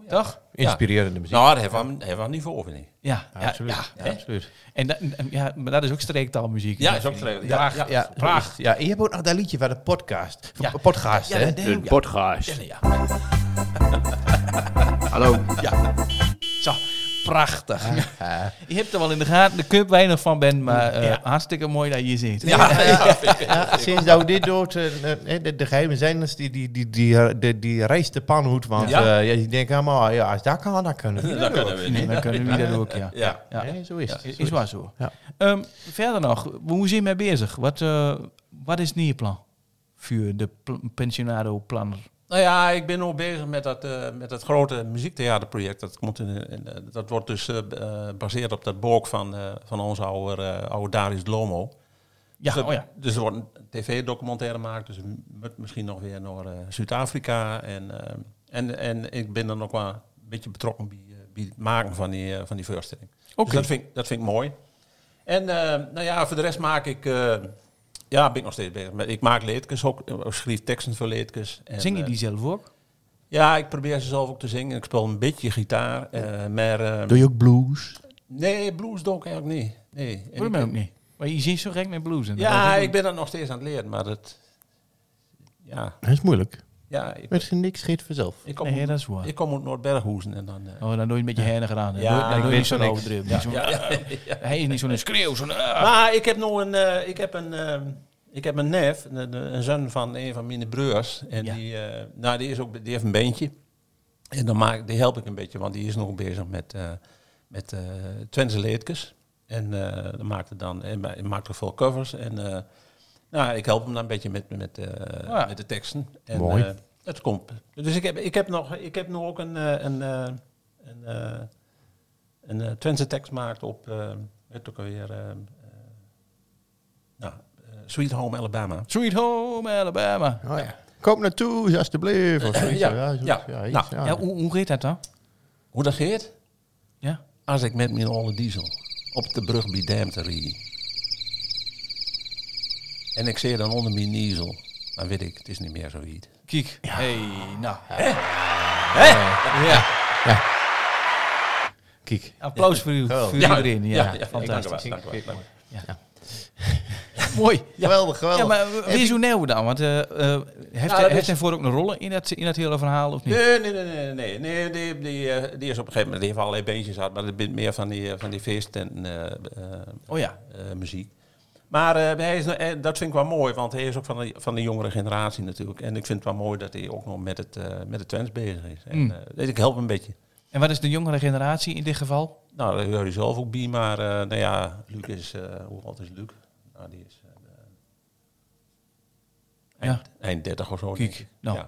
C: Toch?
D: Inspirerende muziek.
E: Nou, dat heeft wel- heeft wel niveau over niet.
C: Ja, ja,
D: absoluut.
C: ja.
D: Ja, absoluut.
C: En dat, en- ja, maar dat is ook streektaalmuziek.
E: Ja, is ook streektaal. Ja,
C: Praag.
E: ja.
D: Ja,
C: Praag.
D: prachtig. Ja, en je hebt ook nog dat liedje van de podcast. Ja. Podcast,
C: Ja,
D: hè?
C: dat denk ik, ja.
D: podcast.
C: Zo, prachtig. Je hebt er wel in de gaten, de cup weinig van ben, maar eh, hartstikke mooi dat je hier zit.
D: Ja, ja, sinds dat dit dood, eh, eh, de, de geheimen zijn, dus die, die, die, die, eh, de- die rijst de panhoed. Want
E: Ja.
D: ja. ja, je denkt allemaal, "Ah, ja, als dat kan, dan kunnen we.
E: Dat kunnen we
C: Nee,
E: niet.
C: dan kunnen we dat ook, ja.
E: Ja.
C: Ja.
D: Nee, zo is het.
C: Is,
D: Zo is
C: waar zo.
D: Ja.
C: Ehm, verder nog, hoe zijn mee bezig? Wat, eh, wat is het nieuwe plan? Voor de pl- pensionado-planner.
E: Nou ja, ik ben nog bezig met dat, eh, met dat grote muziektheaterproject. Dat, komt in, in, eh, dat wordt dus eh, b- eh, gebaseerd op dat boek van, eh, van onze oude, eh, oude Darius Lomo.
C: Ja,
E: dus,
C: oh ja.
E: dus er wordt een tv-documentaire gemaakt, dus met misschien nog weer naar eh, Zuid-Afrika. En, eh, en, en ik ben dan ook wel een beetje betrokken bij, eh, bij het maken van die, eh, van die voorstelling.
C: Oké.
E: Dus dat vind, ik- dat vind ik mooi. En eh, nou ja, voor de rest maak ik... eh, ja, ben ik nog steeds bezig. met. Ik maak leedkes ook, eh, schrijf teksten voor leedkes. En,
C: Zing je
E: eh,
C: die zelf ook?
E: ja, ik probeer ze zelf ook te zingen. Ik speel een beetje gitaar. eh, maar, eh,
D: Doe je ook blues?
E: nee, blues doe ik eigenlijk niet. Nee. En
C: Waarom
E: ik-
C: ook niet? Maar je zingt zo gek met blues. en dat was
E: Ja,
C: ook-
E: ik ben dat nog steeds aan het leren, maar dat... Ja,
D: Dat is moeilijk.
E: ja ik,
D: Met niks schiet vanzelf.
E: ik kom,
C: Nee, dat is waar.
E: ik kom uit Noordberghoezen en dan... eh,
C: Oh, dan doe je een beetje hernig gedaan.
E: Ja,
C: Ja, dan doe
D: ik
C: je niet
D: weet
C: zo'n
D: niks.
C: overdreven. niet zo'n- Hij is niet zo'n schreeuw, zo'n... ah.
E: Maar ik heb nog een... eh, ik heb een ehm, ik heb een neef, een, een- een zoon van een van mijn broers. En
C: Ja.
E: die, eh, nou, die, is ook, die heeft een beentje. En dan maak, die help ik een beetje, want die is nog bezig met, eh met eh Twentse leedkes. En eh, dan maakt hij dan en hij maakt er veel covers. En eh, nou, ik help hem dan een beetje met, met, eh,
C: Ja.
E: met de teksten. En,
D: Mooi.
E: eh, het komt. Dus ik heb, ik heb, nog, ik heb nog ook een, eh, een, eh, een, eh, een eh, Twentse tekst gemaakt op, eh het ook alweer, eh, eh, nou, eh, Sweet Home Alabama.
C: Sweet Home Alabama.
D: Oh, ja. Kom naartoe, alsjeblieft. Of zoiets.
E: Ja.
D: Ja, zoiets,
E: Ja.
D: ja, iets,
E: Nou,
D: ja.
C: Ja, hoe, hoe heet dat dan?
E: Hoe dat geeft?
C: Ja?
E: Als ik met mijn oude diesel op de brug bij Damte rijd. En ik zie dan onder mijn diesel, dan weet ik, het is niet meer zo heet.
C: Kijk. Hey, nou.
D: Kijk.
C: Applaus voor, u, voor iedereen. Ja, fantastisch.
E: Dank u wel, dank u wel.
C: Mooi.
D: Geweldig, geweldig.
C: Ja, maar w- wees hoe nieuw dan? Want eh, eh, heeft,
E: dat
C: hij, heeft
E: is-
C: hij voor ook een rol in dat, in dat hele verhaal of niet?
E: Nee, nee, nee, nee, nee. nee die, die, eh, die is op een gegeven moment, die heeft allerlei beentjes gehad, maar dat bent meer van die, eh, van die feest en
C: Oh ja.
E: eh, muziek. Maar eh, hij is, nou- eh, dat vind ik wel mooi, want hij is ook van de, van de jongere generatie natuurlijk. En ik vind het wel mooi dat hij ook nog met het, eh met de trends bezig is.
C: Hmm.
E: En, eh, dus ik help hem een beetje.
C: En wat is de jongere generatie in dit geval?
E: Nou, daar hoor je zelf ook bij, maar eh, nou ja, Luc is, eh, hoe oud is Luc? Nou, die is eh, eind, eind 30 of zo. denk
C: Kijk,
E: ik.
C: nou.
E: Ja.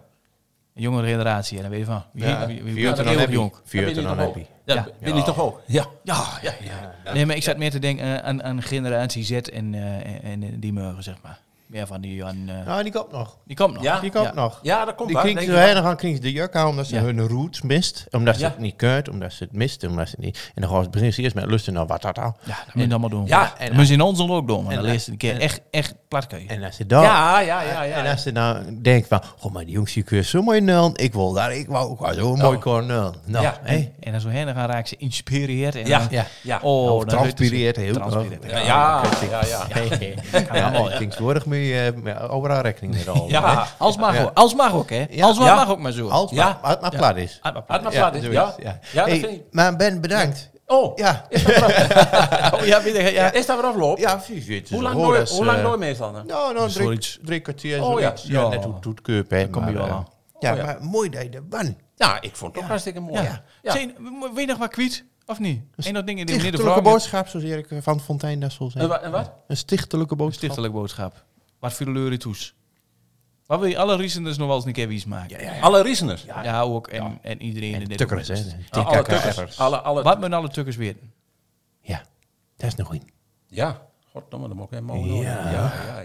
C: De jongere generatie, en dan weet je van. Wie,
D: Ja,
C: wie, wie,
D: vier
C: wie-
D: uur dan
C: heel
D: heb je.
C: jong.
D: Vier uur
E: ben je
D: dan
E: toch
D: heb
E: ook?
D: je.
E: Ja,
C: Ja.
E: ben je toch ook? Ja.
C: Ja, ja, ja, Nee, maar ik zat meer te denken eh, aan, aan generatie Z en, eh, en eh, die morgen, zeg maar. Meer van die Jan. eh,
D: Nou, die komt nog.
C: Die komt nog.
E: Ja?
D: Die komt
C: Ja.
D: nog.
E: Ja, dat
D: Die
E: komt wel,
D: klinkt
E: denk
D: zo
E: ik wel.
D: heilig aan klinkt de jurk aan omdat ze
C: Ja.
D: hun roots mist. Omdat ze
E: Ja.
D: het niet kunt, omdat ze het mist, omdat ze het niet... En dan gaan ze beginnen ze eerst met lusten naar wat dat al.
C: Ja, dat moet je allemaal doen.
E: Ja,
C: en moet je in ons ook doen. Want
D: en-
C: dan leest het een keer echt, echt plat kan je.
D: En als ze dan...
E: Ja, ja, ja, ja.
D: En als ze nou denkt van, goh, maar die jongens die kunnen zo mooi nul. Ik wil daar, ik wou ook wel zo mooi kunnen nul. Nou,
E: Oh. Ja.
D: hè?
C: En dan zo heen, dan gaan raak ze geïnspireerd. En
E: Ja,
C: dan-
D: ja.
E: ja.
C: Oh,
D: Of
C: dan weet je-
D: Nou, transpireert heel
C: Transpireert.
D: oh,
E: Ja, ja, ja, ja.
D: Ja, ja, ik denk zorg mee, eh, met overal rekening mee te houden. hè.
E: Ja,
C: Als mag, ook- als mag ook, hè?
D: Ja.
C: Als wat
E: Ja.
C: mag ook maar zo.
D: Als maar,
E: Ja.
D: als maar plat is.
C: Ah, maar plat.
E: had maar plaat. Ja,
D: zoiets,
E: ja.
D: ja.
E: dat
D: Hey,
E: vind ik.
D: Maar Ben, bedankt.
E: Oh,
D: Ja.
C: Oh, ja, weet je, ja.
E: is dat weer afloop?
D: Ja, precies.
E: Hoe lang door, hoe lang door meestal dan?
D: Nou, nou drie,
C: Zoiets.
D: drie kwartier.
E: Oh, ja. Oh,
D: zoiets. ja.
C: Ja.
D: net hoe het doet keup, hè.
C: kom je
D: maar,
C: wel
D: eh,
C: aan.
D: Ja,
E: ja.
D: maar mooi dat je er bent.
E: Ja, ik vond het ook hartstikke mooi.
C: Ja. Zijn, weet je nog wat kwiet? Of niet? Een dat ding in de midden
D: Stichtelijke boodschap, zoals Erik van Fontijn dat zal
E: En,
D: zijn.
E: Eh, wa- en wat?
D: Een stichtelijke boodschap.
C: Stichtelijk boodschap. Wat voor de leur je toes? Wat wil je alle reasoners nog wel eens een keer wies maken? Ja,
E: Alle reasoners.
C: ook. En, en iedereen in dit
D: Tukkers, hè.
C: moment.
E: Ah, alle tukkers. Alle, alle,
C: Wat men alle tukkers weten.
D: Ja, dat is nog een.
E: Ja, goddomme, dat moet ik helemaal doen. Ja, ja,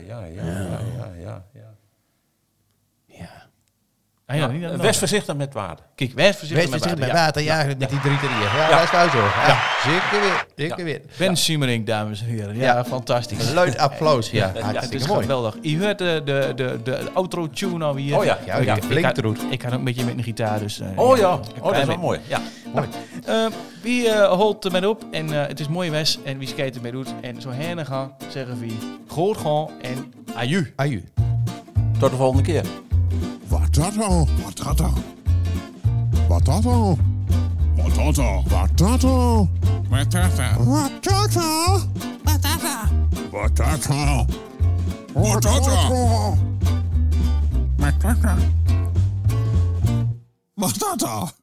E: ja, ja, ja, ja, ja. ja. Eh,
D: Ja.
C: Ah, ja, niet aan de
E: Wees
C: hand.
E: voorzichtig met waarde.
C: Kijk, wees
D: Wees
C: voorzichtig met
D: voorzichtig
C: water.
D: met
C: Ja.
D: water, ja, met die drie drieën. Ja, dat is wel zo. Ja, zeker weer. Zeker
E: Ja.
D: weer.
C: Ben Siemering, dames en heren. Ja,
D: Ja.
C: fantastisch.
D: Een luid applaus, ja.
C: Ja, het
D: Hartstikke
C: is
D: mooi.
C: geweldig. Je hoort de, de, de, de outro-tune alweer.
E: Oh ja,
D: Ja, ja,
C: ik,
D: flink
C: had,
D: eruit.
C: ik had ook een beetje met een gitaar, dus... eh,
E: Oh ja,
C: een
E: oh, dat is
C: klein
E: wel
C: beetje.
E: mooi. Ja.
C: Eh, wie eh holt ermee op en eh, het is mooi wes en wie skate ermee doet. En zo heen gaan zeggen wie groot gaan en aju.
D: Aju.
E: Tot de volgende keer.
A: Wat dat al?
B: Wat gaat er?
A: Wat dat al?
B: Wat Patata.
A: Patata.
B: Patata.
A: Patata.
B: Patata.
A: Patata.
B: Patata.
A: Patata.
B: Patata. Patata.